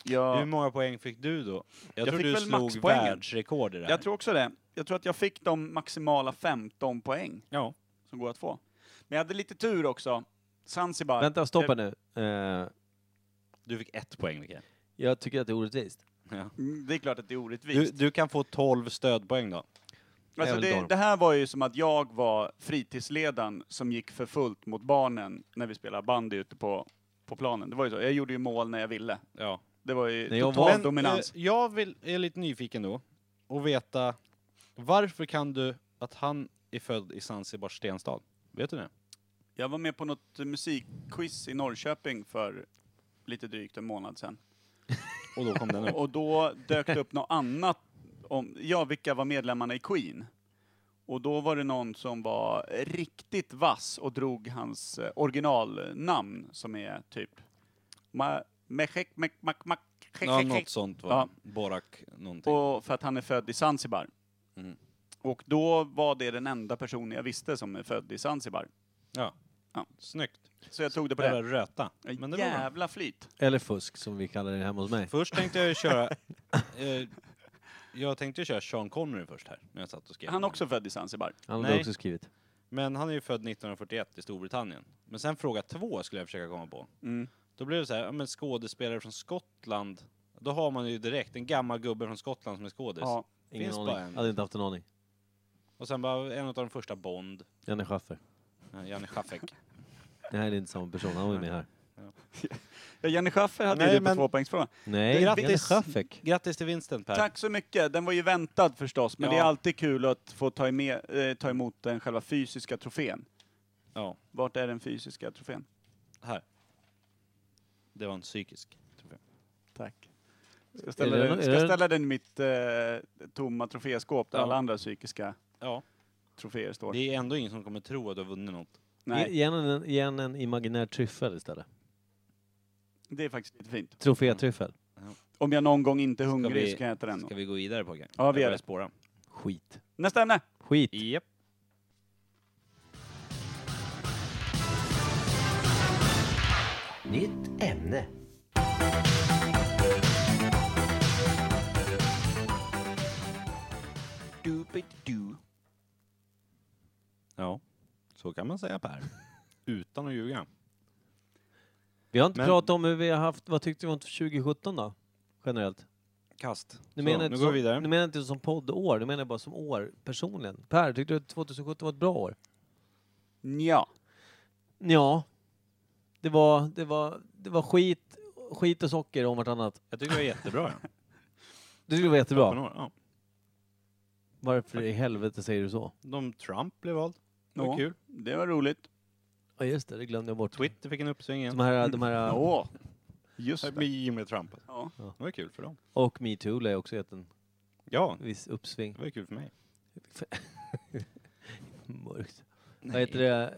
jag...
Hur många poäng fick du då? Jag,
Jag
tror
fick
du
väl
slog
maxpoängen.
världsrekord i det här.
Jag tror också det. Jag tror att jag fick de maximala 15 poäng
Ja.
som går att få. Men jag hade lite tur också. Zanzibar.
Vänta, stoppa nu. Eh,
Du fick ett poäng, Micke.
jag tycker att det är orättvist.
Ja.
Mm, Det är klart att det är orättvist.
Du, du kan få 12 stödpoäng då.
Alltså
Även
det,
Dorm.
det här var ju som att jag var fritidsledaren som gick för fullt mot barnen när vi spelade bandy ute på, på planen. Det var ju så. Jag gjorde ju mål när jag ville.
Ja.
Det var ju
När jag
total
var-
Men,
dominans.
eh, jag vill, är lite nyfiken då och veta varför kan du att han är född i Zanzibars stenstad? Vet du det?
Jag var med på något musikquiz i Norrköping för lite drygt en månad sedan.
Och då kom den upp.
Och då dök det upp något annat om, ja vilka var medlemmarna i Queen? Och då var det någon som var riktigt vass och drog hans eh, originalnamn som är typ Ma- Mehek Mek Mak Mak
Ja, något sånt var
Ja.
Borak någonting.
och för att han är född i Zanzibar.
Mm.
Och då var det den enda personen jag visste som är född i Zanzibar.
Ja.
Ja.
Snyggt. Eh,
Så jag tog det på
Bara
det.
röta. Men det var bra.
Jävla flyt!
Eller fusk, som vi kallar det hemma hos mig.
Först tänkte jag ju köra... eh, jag tänkte ju köra Sean Connery först här, när jag satt och skrev.
Han är också född i Zanzibar.
Han hade
Nej.
också skrivit.
Men han är ju född 1941 i Storbritannien. Men sen fråga två skulle jag försöka komma på.
Mm.
Då blev det så här, ja, men skådespelare från Skottland. Då har man ju direkt en gammal gubbe från Skottland som är skådis.
Ja.
Ingen
Finns bara en.
aning. Hade inte haft en aning.
Och sen bara en av de första Bond,
Janne Schaffer.
eh, Janne Schaffek.
Det här är inte samma person, han var ju med här.
Ja, Jenny Schaffer hade
Nej,
ju det på
men-
tvåpoängsfrågan.
Nej,
Grattis.
Janne Schaffek.
Grattis till vinsten Per.
Tack så mycket. Den var ju väntad förstås, men
Ja.
det är alltid kul att få ta, med, eh, ta emot den själva fysiska trofén.
Ja,
Vart är den fysiska trofén?
här. Det var en psykisk. tror jag.
Tack. Jag ställer,
Är det-
den,
är
ska
det-
ställa den i mitt eh, tomma troféskåp där
Ja.
alla andra psykiska
Ja,
troféer står.
det är ändå ingen som kommer tro att du har vunnit något.
Nej,
Ge henne en, ge henne en imaginär tryffel istället.
det är faktiskt lite fint.
Trofétryffel.
Om jag någon gång inte är hungrig
vi-
så kan jag äta den.
Ska vi gå vidare pojkar?
Ja, vi
Jag
gör
börjar
det.
spåra.
Skit.
Nästa ämne!
Skit.
Japp.
Nytt ämne. Doobidoo.
Ja, så kan man säga Per. Utan att ljuga.
Vi har inte
Men-
pratat om hur vi har haft, vad tyckte vi om 2017 då? Generellt.
Kast.
Nu
Så,
menar jag
nu
inte
går vi
som,
vidare.
Nu menar jag inte som poddår, nu menar jag bara som år personligen. Per, tyckte du att 2017 var ett bra år?
Ja.
Ja. Det var, det var, det var skit, skit och socker om vartannat.
Jag tycker det var jättebra. ja.
Det skulle vara
Men,
jättebra.
Ja.
Varför i helvete säger du så?
De Trump blev vald. Det var
Ja.
kul.
Det var roligt.
Ja just det, det glömde jag bort.
Twitter fick en uppsving igen.
De här, de här,
Åh, just
Med
det.
Jimmy Trump.
Ja.
Det var kul för dem.
och metoo lär ju också gett en
Ja,
viss uppsving.
det var kul för mig.
Mörkt. Vad heter det?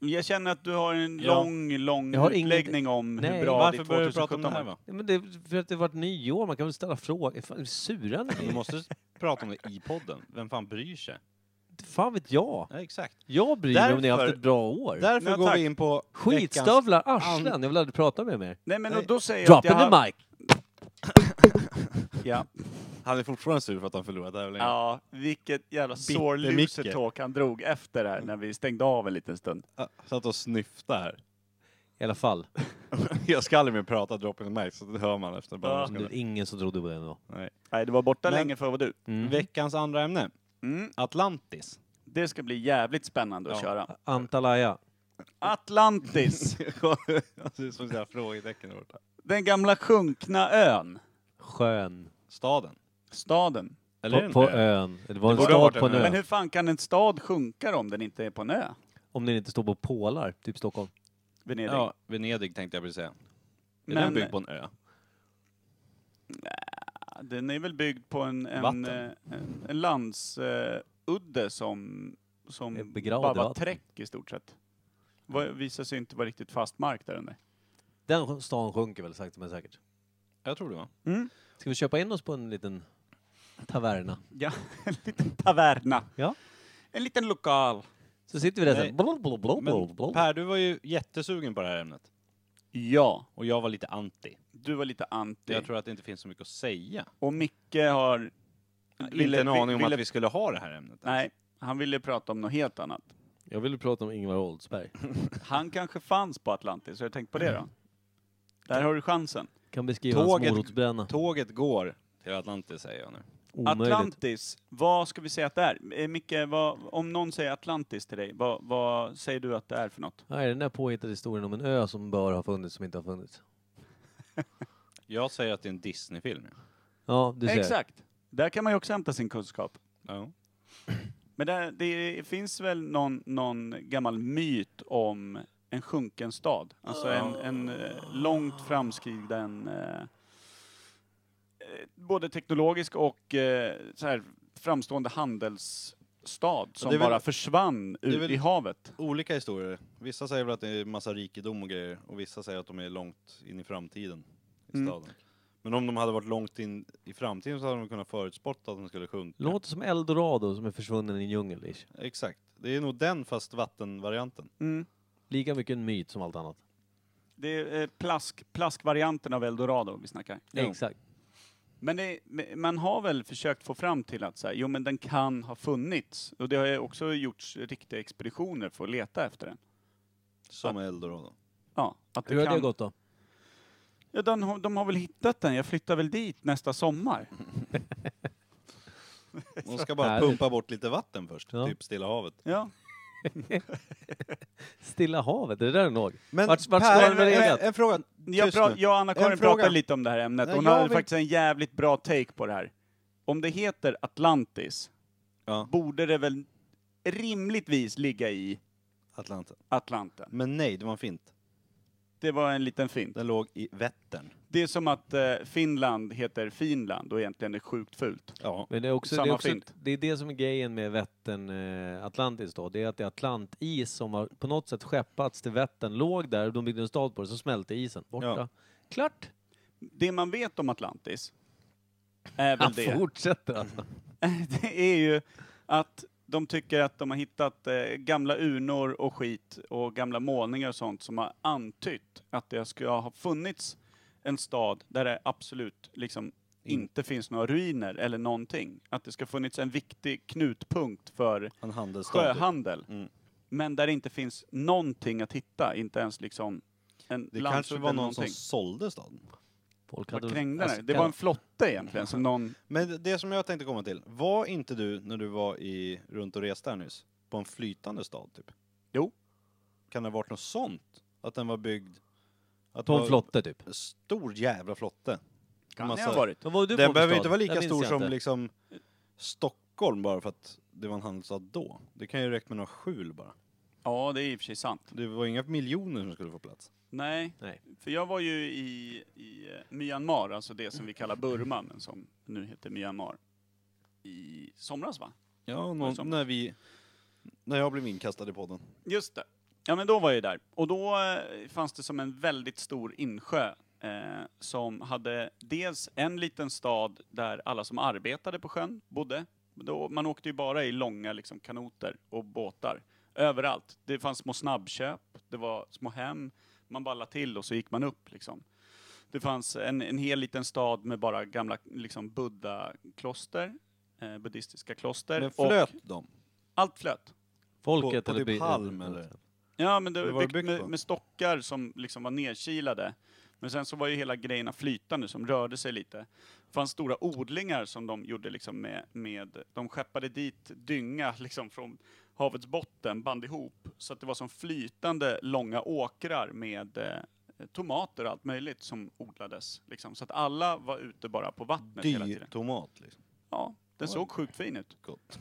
Jag känner att du har en
Ja.
lång, lång
Jag har inget-
utläggning om
Nej,
hur bra
Varför
ditt
börjar du prata om det
2017
här?
är.
Va?
Ja, Men det, för att det varit nyår, man kan väl ställa frågor. Fan, är du sura ni
Men Du måste prata om det i podden. Vem fan bryr sig?
är? Fan vet jag.
Ja, exakt.
Jag bryr mig om ni har haft
Därför-
ett bra år.
Därför
Nej,
går
tack.
vi in på veckans...
Skitstövlar, arslen. Jag vill aldrig prata med mer.
Nej, men
Nej.
då säger jag
Drop
att
in
jag
the
har...
mic!
Ja.
Han är fortfarande sur för att han förlorade tävlingen.
ja, vilket jävla sår
Bitter-Micke.
loser talk han drog efter här när vi stängde av en liten stund.
Ja. Satt och snyftade här.
I alla fall.
Jag ska aldrig mer prata drop in the mic, så det hör man efter bara.
Ja.
några
Det
sekunder.
är ingen som trodde på det ändå.
Nej.
Nej, det var borta
Men-
länge för vad du.
Mm.
Veckans andra ämne.
Mm.
Atlantis.
Det ska bli jävligt spännande att
Ja.
köra.
Antalaya.
Atlantis,
det ser ut som sådana frågetecken där borta.
den gamla sjunkna ön,
Sjön.
Staden.
staden.
Eller är
På,
det
på
en ö?
ön. Det var en
borde ha
stad
varit
på en
en ö.
ö.
Men hur fan kan en stad sjunka då om den inte är på en ö?
Om den inte står på pålar, typ Stockholm.
Venedig.
Ja, Venedig tänkte jag precis säga. Är den
Men-
byggd på en ö?
Den är väl byggd på en, en,
Vatten.
eh, en, en landsudde som,
Ett
som
begravd
bara var
vatten.
träck i stort sett. Var, visade sig inte vara riktigt fast mark där under.
Den stan sjunker väl sakta men säkert.
Jag tror det va?
Ska vi köpa in oss på en liten taverna?
Ja, en liten taverna.
Ja.
En liten lokal.
Så sitter vi där
Nej.
sen. Blå, blå, blå, blå,
Men
blå.
Per, du var ju jättesugen på det här ämnet.
Ja,
Och jag var lite anti.
du var lite anti.
Jag tror att det inte finns så mycket att säga.
Och Micke har...
inte en aning om
ville,
att vi skulle ha det här ämnet.
Nej, han ville prata om något helt annat.
Jag ville prata om Ingvar Oldsberg.
Han kanske fanns på Atlantis, har du tänkt på det då? Där har du chansen.
Kan beskriva hans
Tåget-
morotsbränna.
Tåget går till Atlantis säger jag nu.
Omöjligt.
Atlantis, vad ska vi säga att det är? Eh, Micke, vad, om någon säger Atlantis till dig, vad, vad säger du att det är för något?
Nej, den där påhittade historien om en ö som bör ha funnits som inte har funnits.
Jag säger att det är en Disney-film.
Ja, du ser.
Exakt. Där kan man ju också hämta sin kunskap.
Ja.
Men där, det finns väl någon, någon gammal myt om en sjunken stad? Alltså en, en eh, långt framskriden, eh, eh, både teknologisk och eh, så här, framstående handelsstad som
det är väl-
bara försvann
är
ut
väl-
i havet.
Olika historier. Vissa säger väl att det är massa rikedom och grejer och vissa säger att de är långt in i framtiden i
Mm.
staden. Men om de hade varit långt in i framtiden så hade de kunnat förutspått att de skulle sjunka.
Låter som Eldorado som är försvunnen i en djungel. ish.
Exakt. Det är nog den fast vattenvarianten.
Mm.
Lika mycket en myt som allt annat.
Det är eh, plask, plaskvarianten av eldorado vi snackar.
Jo.
Exakt.
Men det, men man har väl försökt få fram till att så här, jo men den kan ha funnits. Och det har ju också gjorts riktiga expeditioner för att leta efter den.
Som Eldorado.
Ja, att
Hur
det
har det
kan.
gått då?
Ja, den, har- de har väl hittat den, jag flyttar väl dit nästa sommar.
De ska bara
härligt.
pumpa bort lite vatten först,
Ja.
typ Stilla havet.
Ja.
Stilla havet, är det där den låg?
Men
Vart- vart
Per,
står den med
en-
legat?
en- En fråga.
Jag,
Tyst
pra-
nu.
jag och
En
Anna-Karin
fråga.
pratade lite om det här ämnet.
Nej,
Hon
jag
hade
vill-
faktiskt en jävligt bra take på det här. Om det heter Atlantis,
Ja.
borde det väl rimligtvis ligga i
Atlanten.
Atlanten.
Men nej, det var en fint.
Det var en liten fint.
Den låg i Vättern.
Det är som att eh, Finland heter Finland och egentligen är sjukt fult.
Ja.
Men det är, också, det,
Samma
är också,
fint.
det är det som är grejen med Vättern eh, Atlantis då. Det är att det är Atlantis som har på något sätt skeppats till Vättern, låg där, de byggde en stad på det, så smälte isen. Borta.
Ja.
Klart!
Det man vet om Atlantis är väl
Han
det.
fortsätter alltså.
det är ju att de tycker att de har hittat eh, gamla urnor och skit och gamla målningar och sånt som har antytt att det ska ha funnits en stad där det absolut liksom inte finns några ruiner eller någonting. Att det ska ha funnits en viktig knutpunkt för
En handelsstad. typ.
sjöhandel.
Mm.
Men där det inte finns någonting att hitta, inte ens liksom en
Det
landsort
kanske var någon
eller någonting.
som sålde staden.
Folk
Vad
hade...
krängde
alltså,
det? Det var en flotte egentligen som någon...
Men det som jag tänkte komma till, var inte du när du var i runt och reste här nyss på en flytande stad typ?
Jo.
Kan det ha varit något sånt? Att den var byggd... Att
På
det
en flotte typ.
var Stor jävla flotte.
Kan det
Massa-
ha varit?
Vad var du på
Den
för
behöver
stad?
inte vara lika
Jag minns
stor
jag
som
inte.
liksom Stockholm bara för att det var en handelsstad då. Det kan ju räcka med några skjul bara.
Ja, det är i och för sig sant.
Det var inga miljoner som skulle få plats.
Nej,
Nej.
för jag var ju i, i eh, Myanmar, alltså det som vi kallar Burma, men som nu heter Myanmar, i somras va?
Ja,
någon-
när vi... När jag blev inkastad i podden.
Just det. Ja men då var jag ju där. Och då eh, fanns det som en väldigt stor insjö eh, som hade dels en liten stad där alla som arbetade på sjön bodde. Då, man åkte ju bara i långa liksom, kanoter och båtar. Överallt. Det fanns små snabbköp, det var små hem. Man ballade till och så gick man upp liksom. Det fanns en, en hel liten stad med bara gamla liksom, buddha-kloster, eh, buddhistiska kloster.
Men
Och
flöt de?
allt flöt.
Folket
på
eller
typ
by-
halm eller?
Ja, men det
Vad
var
var det
byggt
byggt
med,
på?
med stockar som liksom var nedkilade. Men sen så var ju hela grejerna flytande som rörde sig lite. Det fanns stora odlingar som de gjorde liksom med, med de skeppade dit dynga liksom från havets botten, band ihop. Så att det var som flytande långa åkrar med eh, tomater och allt möjligt som odlades. Liksom. Så att alla var ute bara på vattnet hela
Dyr
tiden.
tomat liksom.
Ja, den såg sjukt fin ut.
Gott.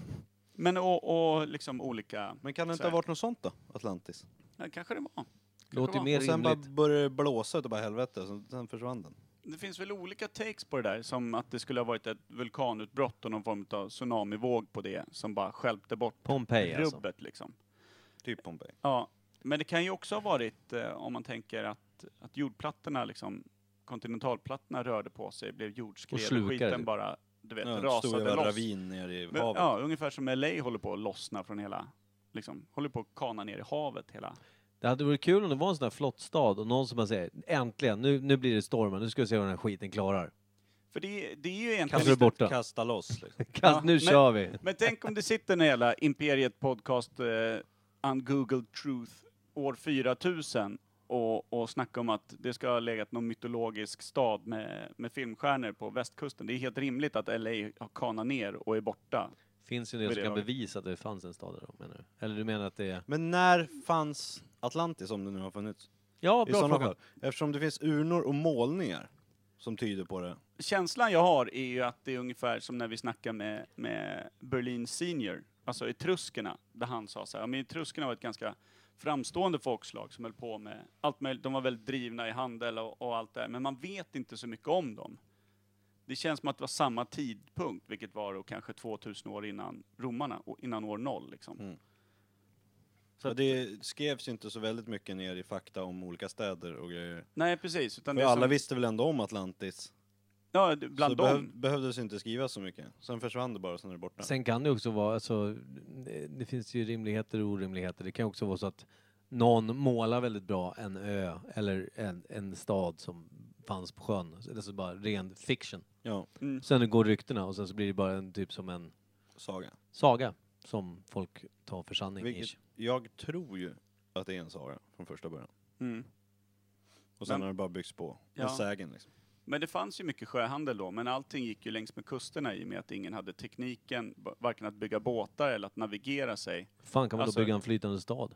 Men och, och liksom olika...
Men kan det inte
Så här.
ha varit något sånt då? Atlantis?
Ja, kanske det var.
Låter ju
Och
mer
Och sen bara
rimligt.
började det blåsa utav bara helvete, så sen försvann den.
Det finns väl olika takes på det där, som att det skulle ha varit ett vulkanutbrott och någon form av tsunamivåg på det som bara stjälpte bort
Pompeji alltså.
rubbet liksom.
Typ Pompeji.
Ja, men det kan ju också ha varit, eh, om man tänker att, att jordplattorna liksom, kontinentalplattorna rörde på sig, blev
Och
jordskred och
slukade
skiten
det.
bara, du vet,
Ja, stor
rasade
jävla
loss.
ravin nere i
Men,
havet.
ja, ungefär som LA håller på att lossna från hela, liksom, håller på att kana ner i havet hela.
Det hade varit kul om det var en sån här flott stad och någon som bara säger äntligen, nu, nu blir det stormen, nu ska vi se vad den här skiten klarar.
För det, det är ju egentligen...
Kanske det är borta.
Kasta loss liksom.
Kast, nu
men-
kör vi!
Men tänk om det sitter en jävla Imperiet Podcast eh, on Google Truth år 4000 och, och snackar om att det ska ha legat någon mytologisk stad med, med filmstjärnor på västkusten. Det är helt rimligt att LA har kanat ner och är borta.
Finns ju en del
Vid
som
det
kan
laget.
bevisa att det fanns en stad där då, menar du? Eller du menar att det är...
Men när fanns Atlantis om det nu har funnits?
Ja,
I
bra
sådana
fråga!
fall. Eftersom det finns urnor och målningar som tyder på det.
Känslan jag har är ju att det är ungefär som när vi snackar med, med Berlin Senior, alltså etruskerna, där han sa så här, "Ja, men etruskerna var ett ganska framstående folkslag som höll på med allt möjligt. De var väldigt drivna i handel och, och allt det där, men man vet inte så mycket om dem. Det känns som att det var samma tidpunkt, vilket var då kanske 2000 år innan romarna, och innan år noll liksom.
Mm.
Så
Så
att-
det skrevs ju inte så väldigt mycket ner i fakta om olika städer och grejer.
Nej precis, utan
För
det är
alla
som,
visste väl ändå om Atlantis?
ja, det- bland
så behöv,
dem.
behövdes inte skrivas så mycket. Sen försvann det bara, sen är det borta.
Sen kan det också vara, alltså, det- det finns ju rimligheter och orimligheter. Det kan också vara så att någon målar väldigt bra en ö eller en, en stad som fanns på sjön. Så Det är så bara ren fiction.
Ja,
Mm.
Sen går ryktena och sen så blir det bara en typ som en
saga.
saga som folk tar för sanning.
Vilket
ish.
jag tror ju att det är en saga från första början.
Mm.
Och sen
Men-
har det bara byggts på.
Ja.
Med sägen liksom.
Men det fanns ju mycket sjöhandel då, men allting gick ju längs med kusterna i och med att ingen hade tekniken, b- varken att bygga båtar eller att navigera sig.
Fan kan man
alltså-
då bygga en flytande stad?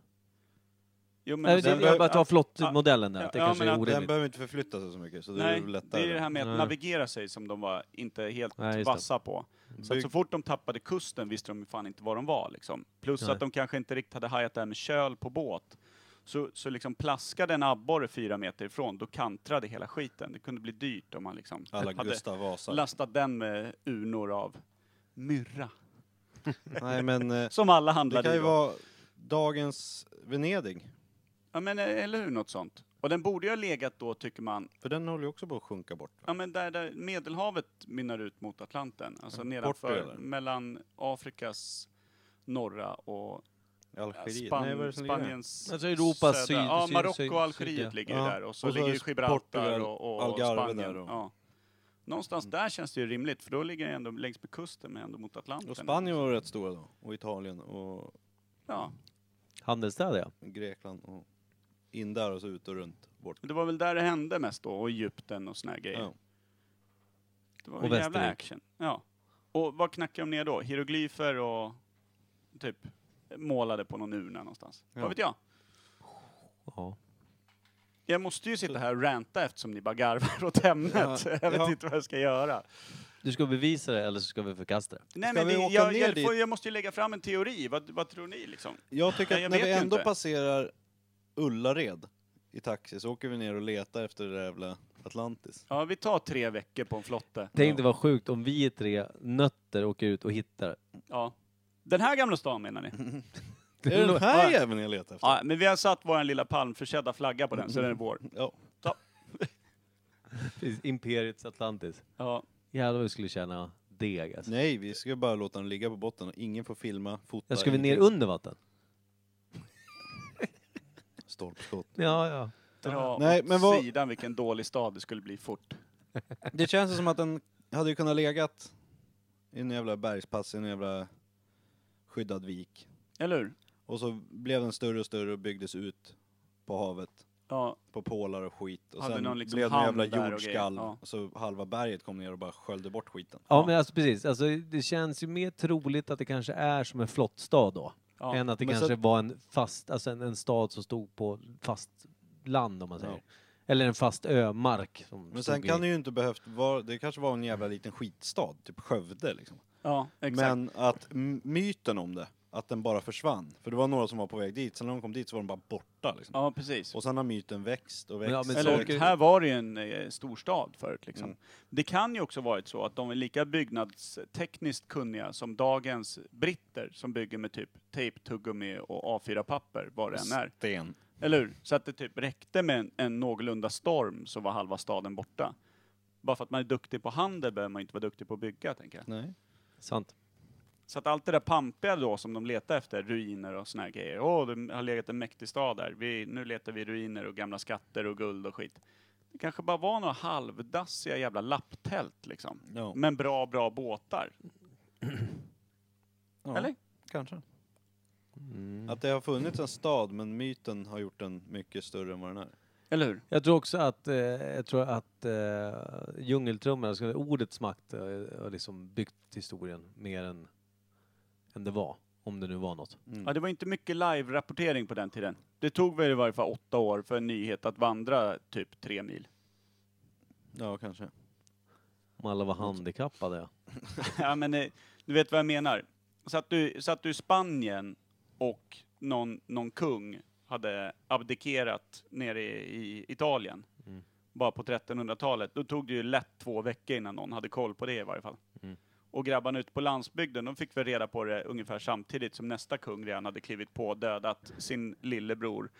Jo, men
Nej, det,
den
jag bara tar
att-
flottmodellen där,
ja,
att det
ja,
kanske
men
är
att-
Den
orimligt.
behöver inte förflytta sig så mycket, så det
Nej,
är
det
lättare.
är det här med att
Nej.
navigera sig som de var inte helt
Nej, just det.
vassa på. Så, att
Bygg-
så fort de tappade kusten visste de ju fan inte var de var liksom. Plus
Nej.
att de kanske inte riktigt hade hajat det här med köl på båt. Så, så liksom plaskade en abborre fyra meter ifrån, då kantrade hela skiten. Det kunde bli dyrt om man liksom
Alla
hade
Gustav Vasa.
lastat den med urnor av myrra.
Nej men, eh,
Som alla
det
handlade
kan ju
i då.
vara dagens Venedig.
Ja men eh, eller hur, något sånt. Och den borde ju ha legat då tycker man,
För den håller ju också på att sjunka bort. va?
ja men där, där Medelhavet mynnar ut mot Atlanten. Alltså
Mm, Portugal,
nedanför,
eller?
mellan Afrikas norra och eh,
Algeriet. Nej, vad är
Span
det som ligger där?
Spaniens
Alltså Europas
södra.
syd-
Ja,
syd-
Marocko
syd-
och Algeriet
syd, ja.
ligger
Ja.
där och så
Och så
ligger ju
är
Gibraltar
Portugal,
och, och
Algarve
Spanien.
där då. Mm.
Ja. Någonstans där känns det ju rimligt, för då ligger det ändå längs med kusten men ändå mot Atlanten.
Och Spanien var rätt stora då. Och Italien och
Ja.
Handelsstäder ja.
Grekland och in där och så ut och runt bort.
Det var väl där det hände mest då, och Egypten och såna här grejer.
Ja.
Det var
Och
en jävla
Västervik.
action. Ja. Och vad knackade de ner då? Hieroglyfer och typ målade på någon urna någonstans.
Ja.
Vad vet jag?
ja.
Jag måste ju sitta här och ranta eftersom ni bara garvar åt ämnet.
Ja,
Jag vet
ja.
inte vad jag ska göra.
Du ska bevisa det eller så ska vi förkasta det.
Nej,
Ska
men
vi
det,
åka
jag,
ner
jag,
dit?
får, jag måste ju lägga fram en teori. Vad, vad tror ni liksom?
Jag tycker
Nej, jag
att när
vet
vi
ju
ändå
inte.
passerar Ullared i taxi så åker vi ner och letar efter det där jävla Atlantis.
Ja, vi tar tre veckor på en flotte.
Tänk inte vad sjukt om vi tre nötter åker ut och hittar det.
Mm.
Ja. Den här gamla stan menar ni?
Är det den här jäveln jag letar efter?
Ah. Ja, men vi har satt vår lilla palmförsedda flagga på den, så den är vår.
Ja.
Precis, Imperiets Atlantis.
Ja.
Jävlar vad vi skulle känna deg alltså.
Nej, vi ska bara låta den ligga på botten och ingen får filma, fota.
Jag ska vi ner
ingenting.
under vatten?
Stolpskott.
Ja, ja.
Dra
Nej,
åt
men vad-
sidan vilken dålig stad det skulle bli fort.
Det känns som att den hade ju kunnat legat i en jävla bergspass, i en jävla skyddad vik.
Eller hur?
Och så blev den större och större och byggdes ut på havet,
Ja,
på pålar och skit. Och
Hade
sen
någon liksom
blev det en
hamn
jävla
där och grejer,
jordskalv,
ja.
och så halva berget kom ner och bara sköljde bort skiten.
Ja, men alltså precis. Alltså, det känns ju mer troligt att det kanske är som en flottstad då.
ja.
Än att det
men
kanske
så
var en fast, alltså en, en stad som stod på fast land om man säger.
Ja.
Eller en fast ömark. Som
Men
stod
sen kan
i.
det ju inte behövt vara, det kanske var en jävla liten skitstad, typ Skövde liksom.
ja exakt.
Men att m- myten om det, att den bara försvann. För det var några som var på väg dit, sen när de kom dit så var de bara borta liksom.
Ja, precis.
Och sen har myten växt och växt.
Men ja, men
och
Eller
saker-
växt.
hur? Här var det ju en eh, storstad förut liksom.
Mm.
Det kan ju också varit så att de är lika byggnadstekniskt kunniga som dagens britter som bygger med typ tejp, tuggummi och A4-papper, vad det än är.
Sten.
Eller hur? Så att det typ räckte med en, en någorlunda storm så var halva staden borta. Bara för att man är duktig på handel behöver man inte vara duktig på att bygga, tänker jag.
Nej.
Sant.
Så att allt det där pampiga då som de letar efter, ruiner och såna här grejer. Åh, det har legat en mäktig stad där. Vi, nu letar vi ruiner och gamla skatter och guld och skit. Det kanske bara var några halvdassiga jävla lapptält liksom.
Ja.
Men bra, bra båtar.
Ja,
Eller?
Kanske.
Mm.
Att det har funnits en stad men myten har gjort den mycket större än vad den är.
Eller hur?
Jag tror också att, eh, jag tror att eh, djungeltrummorna, alltså ordets makt, eh, har liksom byggt historien mer än, än det var. Om det nu var något.
Mm.
Ja, det var inte mycket live-rapportering på den tiden. Det tog väl i varje fall åtta år för en nyhet att vandra typ tre mil.
Ja, kanske.
Om alla var handikappade. ja.
Ja, men eh, du vet vad jag menar. Satt du, satt du i Spanien och någon, någon kung hade abdikerat nere i, i Italien,
Mm.
bara på 1300-talet, då tog det ju lätt två veckor innan någon hade koll på det i varje fall.
Mm.
Och grabbarna ute på landsbygden, de fick väl reda på det ungefär samtidigt som nästa kung redan hade klivit på, dödat sin lillebror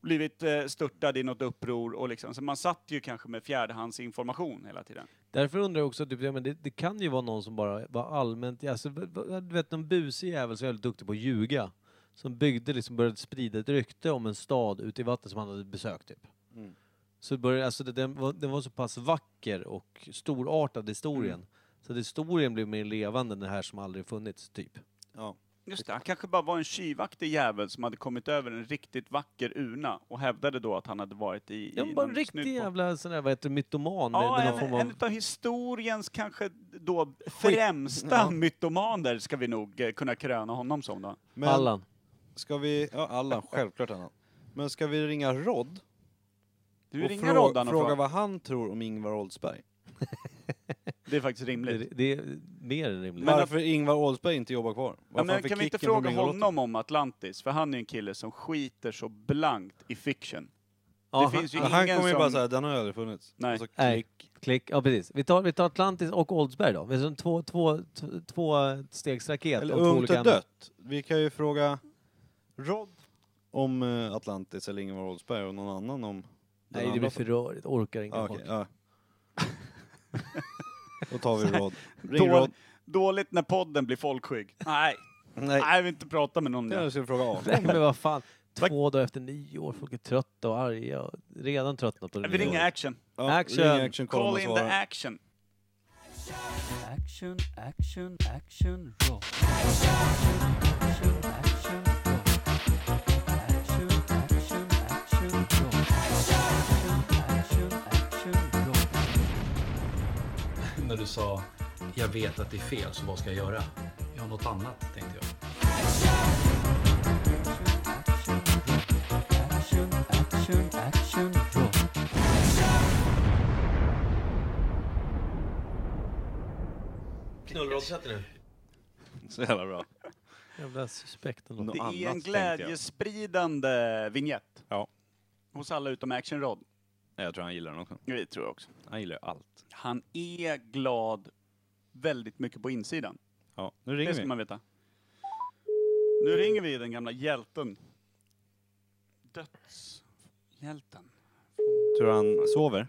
blivit eh, störtad i något uppror och liksom, så man satt ju kanske med fjärdehandsinformation hela tiden.
Därför undrar jag också, typ, ja, men det, det kan ju vara någon som bara var allmänt, alltså, v- v- du vet någon busig jävel som är väldigt duktig på att ljuga. Som byggde, liksom började sprida ett rykte om en stad ute i vattnet som han hade besökt typ.
Mm.
Så började, alltså det, den, var, den var så pass vacker och storartad historien.
Mm.
Så att historien blev mer levande än det här som aldrig funnits, typ.
Ja.
Just det, han kanske bara var en tjuvaktig jävel som hade kommit över en riktigt vacker urna och hävdade då att han hade varit i...
Ja,
i
men bara en
någon
riktig
snutt på-
jävla sån där, vad heter det, mytoman med,
Ja,
med
en,
någon form
en
av...
utav historiens kanske då främsta mytomaner ska vi nog eh, kunna kröna honom som då.
Men
Allan.
ska vi... Ja, Allan. Självklart Allan. Men ska vi ringa Rod
Du
och
ringer
frå-
Roddan och
fråga
frågar.
vad han tror om Ingvar Oldsberg?
Det är faktiskt
Det,
rimligt.
det är mer än rimligt.
Varför Ingvar Oldsberg inte jobbar kvar? Varför
Ja, men
han fick
kan vi inte
kicken från
fråga
Bingolotto?
honom om Atlantis? För han är en kille som skiter så blankt i fiction.
Ja,
det
han-
finns ju
Ja, han
ingen
kommer ju
som...
bara säga, den har ju aldrig funnits.
Nej.
Och så
Nej,
klick.
klick. Ja, precis. Vi tar, vi tar Atlantis och Oldsberg då. Vi har som två, två, t- två stegsraket.
Eller
om två
ungt
olika
och
ämnen.
dött. Vi kan ju fråga Rod om eh, Atlantis eller Ingvar Oldsberg och någon annan om den
Nej, det
andra
blir för
frågan.
rörigt. Orkar inga
Ja,
folk.
Ah, okej, ja. Då tar vi Rod. Ring
Dål,
Rod.
dåligt när podden blir folkskygg. Nej,
Nej,
nej, vi vill inte prata med någon om det.
jag skulle fråga Arne.
Nej, men vad fan. Två dagar efter nyår. Folk är trötta och arga. och Redan tröttna på det
Vi
nya
ringer
året.
action.
Ja,
Action.
ring action
Call
call och
in the
svara.
action.
Action, action, action, roll. Action, action, roll. Action, action, action, roll. Action, action, action, roll.
när du sa jag vet att det är fel, så vad ska jag göra? Jag har något annat, tänkte jag.
Action, roll. Action, action, action, roll.
Så jävla bra.
Jävla suspekten.
Nå-
No.
Det
annat,
är en
tänkte jag.
glädjespridande vignett.
Ja.
Hos alla utom Action Rod.
Nej, jag tror han gillar den också.
Det tror jag också.
Han gillar ju allt.
Han är glad väldigt mycket på insidan.
Ja, nu
Det
ringer
ska
vi.
man veta. Nu ringer vi den gamla hjälten. Dödshjälten.
Tror du han sover?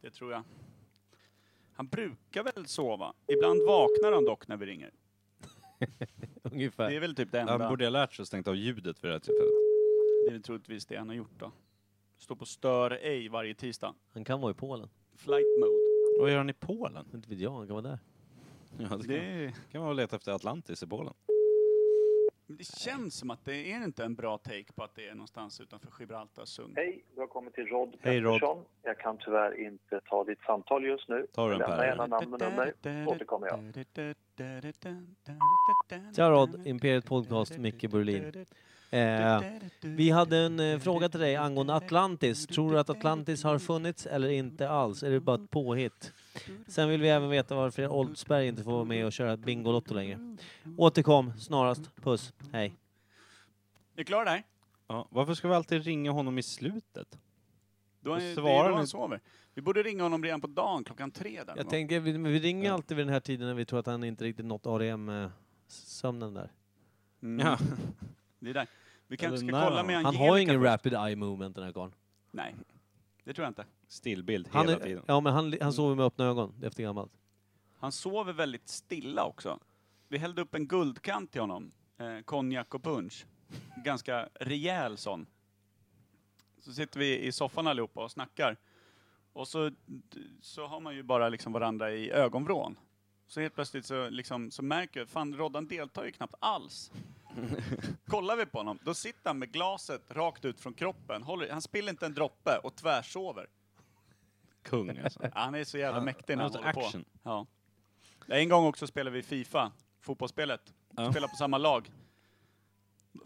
Det tror jag. Han brukar väl sova. Ibland vaknar han dock när vi ringer. Det är
Ungefär.
väl typ det
Han
enda.
borde ha lärt sig att stänga av ljudet vid det här tillfället.
Det är väl troligtvis det han har gjort då. Står på stör ej varje tisdag.
Han kan vara i Polen.
Flight mode.
Vad gör han i Polen?
Inte vet jag, han kan vara där.
Ja, det kan,
Det,
kan man väl leta efter Atlantis i Polen.
det känns som att det är inte en bra take på att det är någonstans utanför Gibraltar sund.
Hej, du har kommit till Rod
Hej, Rod.
Pettersson. Jag kan tyvärr inte ta ditt samtal just nu.
Tar du en
Lämna
Per?
gärna namn och nummer, återkommer jag.
Tja Rod, Imperiet Podcast, Micke Berlin. Eh, vi hade en eh, fråga till dig angående Atlantis. Tror du att Atlantis har funnits eller inte alls? Är det bara ett påhitt? Sen vill vi även veta varför Oldsberg inte får vara med och köra ett Bingolotto längre. Återkom snarast. Puss. Hej.
Är du klar där?
Ja, varför ska vi alltid ringa honom i slutet?
Då
Och
är, det
svarar
är då
ni-
han sover. Vi borde ringa honom redan på dagen klockan tre. Där någon
Jag
gång.
tänker, vi, men vi ringer alltid vid den här tiden när vi tror att han inte riktigt nått ARM-sömnen eh, där.
Mm.
Ja.
Det är där. Vi kanske
Eller
ska
när
kolla
han-
med
Han
Angelica
har ju ingen
först.
rapid eye movement den här karln.
Nej, det tror jag inte.
Stillbild
Han,
hela
är,
tiden.
ja, men han, han sover med öppna ögon efter gammalt.
Han sover väldigt stilla också. Vi hällde upp en guldkant till honom. Eh, konjak och punch. Ganska rejäl sån. Så sitter vi i soffan allihopa och snackar. Och så, så har man ju bara liksom varandra i ögonvrån. Så helt plötsligt så, liksom, så märker jag, fan Roddan deltar ju knappt alls. Kollar vi på honom, då sitter han med glaset rakt ut från kroppen. Håller, han spiller inte en droppe och tvärsover.
Kung alltså.
Ja, Han är så jävla mäktig när han
han
håller
är action.
på. Ja. Nej, En gång också spelade vi Fifa, fotbollsspelet.
Ja.
Spelade på samma lag.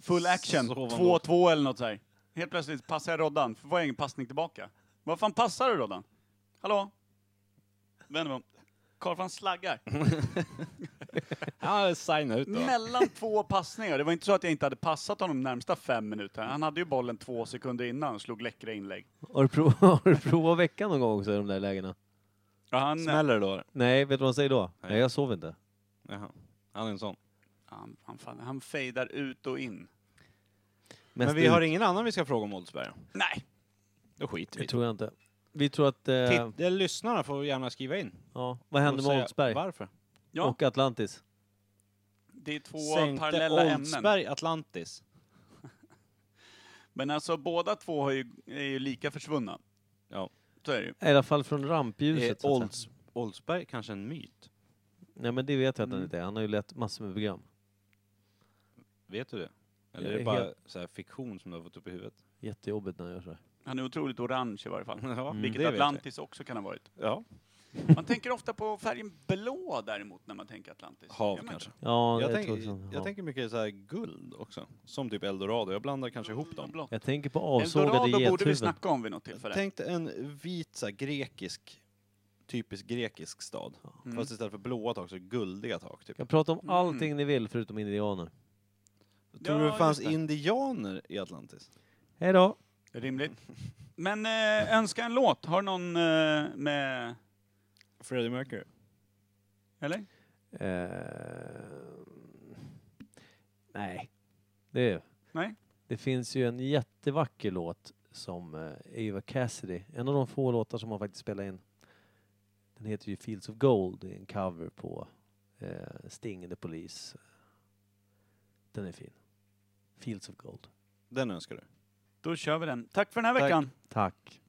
Full action,
Så var man
2-2 eller något så här. Helt plötsligt passar jag Roddan, för får jag ingen passning tillbaka. Vad fan passar du Roddan? Hallå? Vänder mig om. Karl fan slaggar.
Ja, signa ut då.
Mellan två passningar. Det var inte så att jag inte hade passat honom närmsta fem minuter. Han hade ju bollen två sekunder innan och slog läckra inlägg.
Har du, prov, har du provat veckan någon gång också i de där lägena?
Ja, han,
Smäller det då?
Nej, vet du vad han säger då?
Nej.
Nej, jag sover inte.
Jaha. Han är en sån.
han, han, fan, han fejdar ut och in.
Mest
Men vi har
ut.
ingen annan vi ska fråga om Oldsberg.
Nej,
Då skiter vi
Det
i
tror jag inte. Vi tror att... Eh,
det. Titt- Lyssnarna får gärna skriva in.
ja, vad hände
Och säga
med Oldsberg?
Varför?
Ja.
Och Atlantis?
det är två
Sänkte
parallella ämnen.
Oldsberg Atlantis?
Men alltså båda två har ju, är ju lika försvunna.
Ja.
Så är det ju.
I alla fall från rampljuset.
Är
så att säga.
Olds, Oldsberg kanske en myt?
Nej, men det vet jag att han
Mm.
inte är. Han har ju lett massor med program.
Vet du det? Eller
Jag
är det
är
bara
helt-
så här fiktion som du har fått upp i huvudet?
Jättejobbigt när han gör så här.
Han är otroligt orange i varje fall.
Ja,
Vilket Atlantis också kan ha varit.
Ja.
Man tänker ofta på färgen blå däremot när man tänker Atlantis.
Hav
Gör man
kanske.
Ja,
Jag,
jag,
tänk,
tror så. Ja.
jag tänker mycket så här guld också. Som typ eldorado. Jag blandar kanske ihop
inte?
dem.
Blått.
jag tänker på
Eldorado
avsågade
borde vi
gethuvuden.
snacka om vid något tillfälle.
Tänk dig en vit så här, grekisk, typisk grekisk stad.
Mm.
Fast istället för blåa tak så är det guldiga tak. Typ.
Jag prata om allting ni vill förutom indianer.
Tror du
Ja,
det fanns
just det.
indianer i Atlantis?
Hej då!
Rimligt. Men eh, önska en låt. Har någon eh, med...
Freddie Mercury?
Eller?
Eh, nej, det,
Nej?
det finns ju en jättevacker låt som eh, Eva Cassidy, en av de få låtar som hon faktiskt spelar in. Den heter ju Fields of Gold, det är en cover på eh, Sting and the Police. Den är fin. Fields of Gold.
Den önskar du?
Då kör vi den. Tack för den här
Tack.
veckan.
Tack.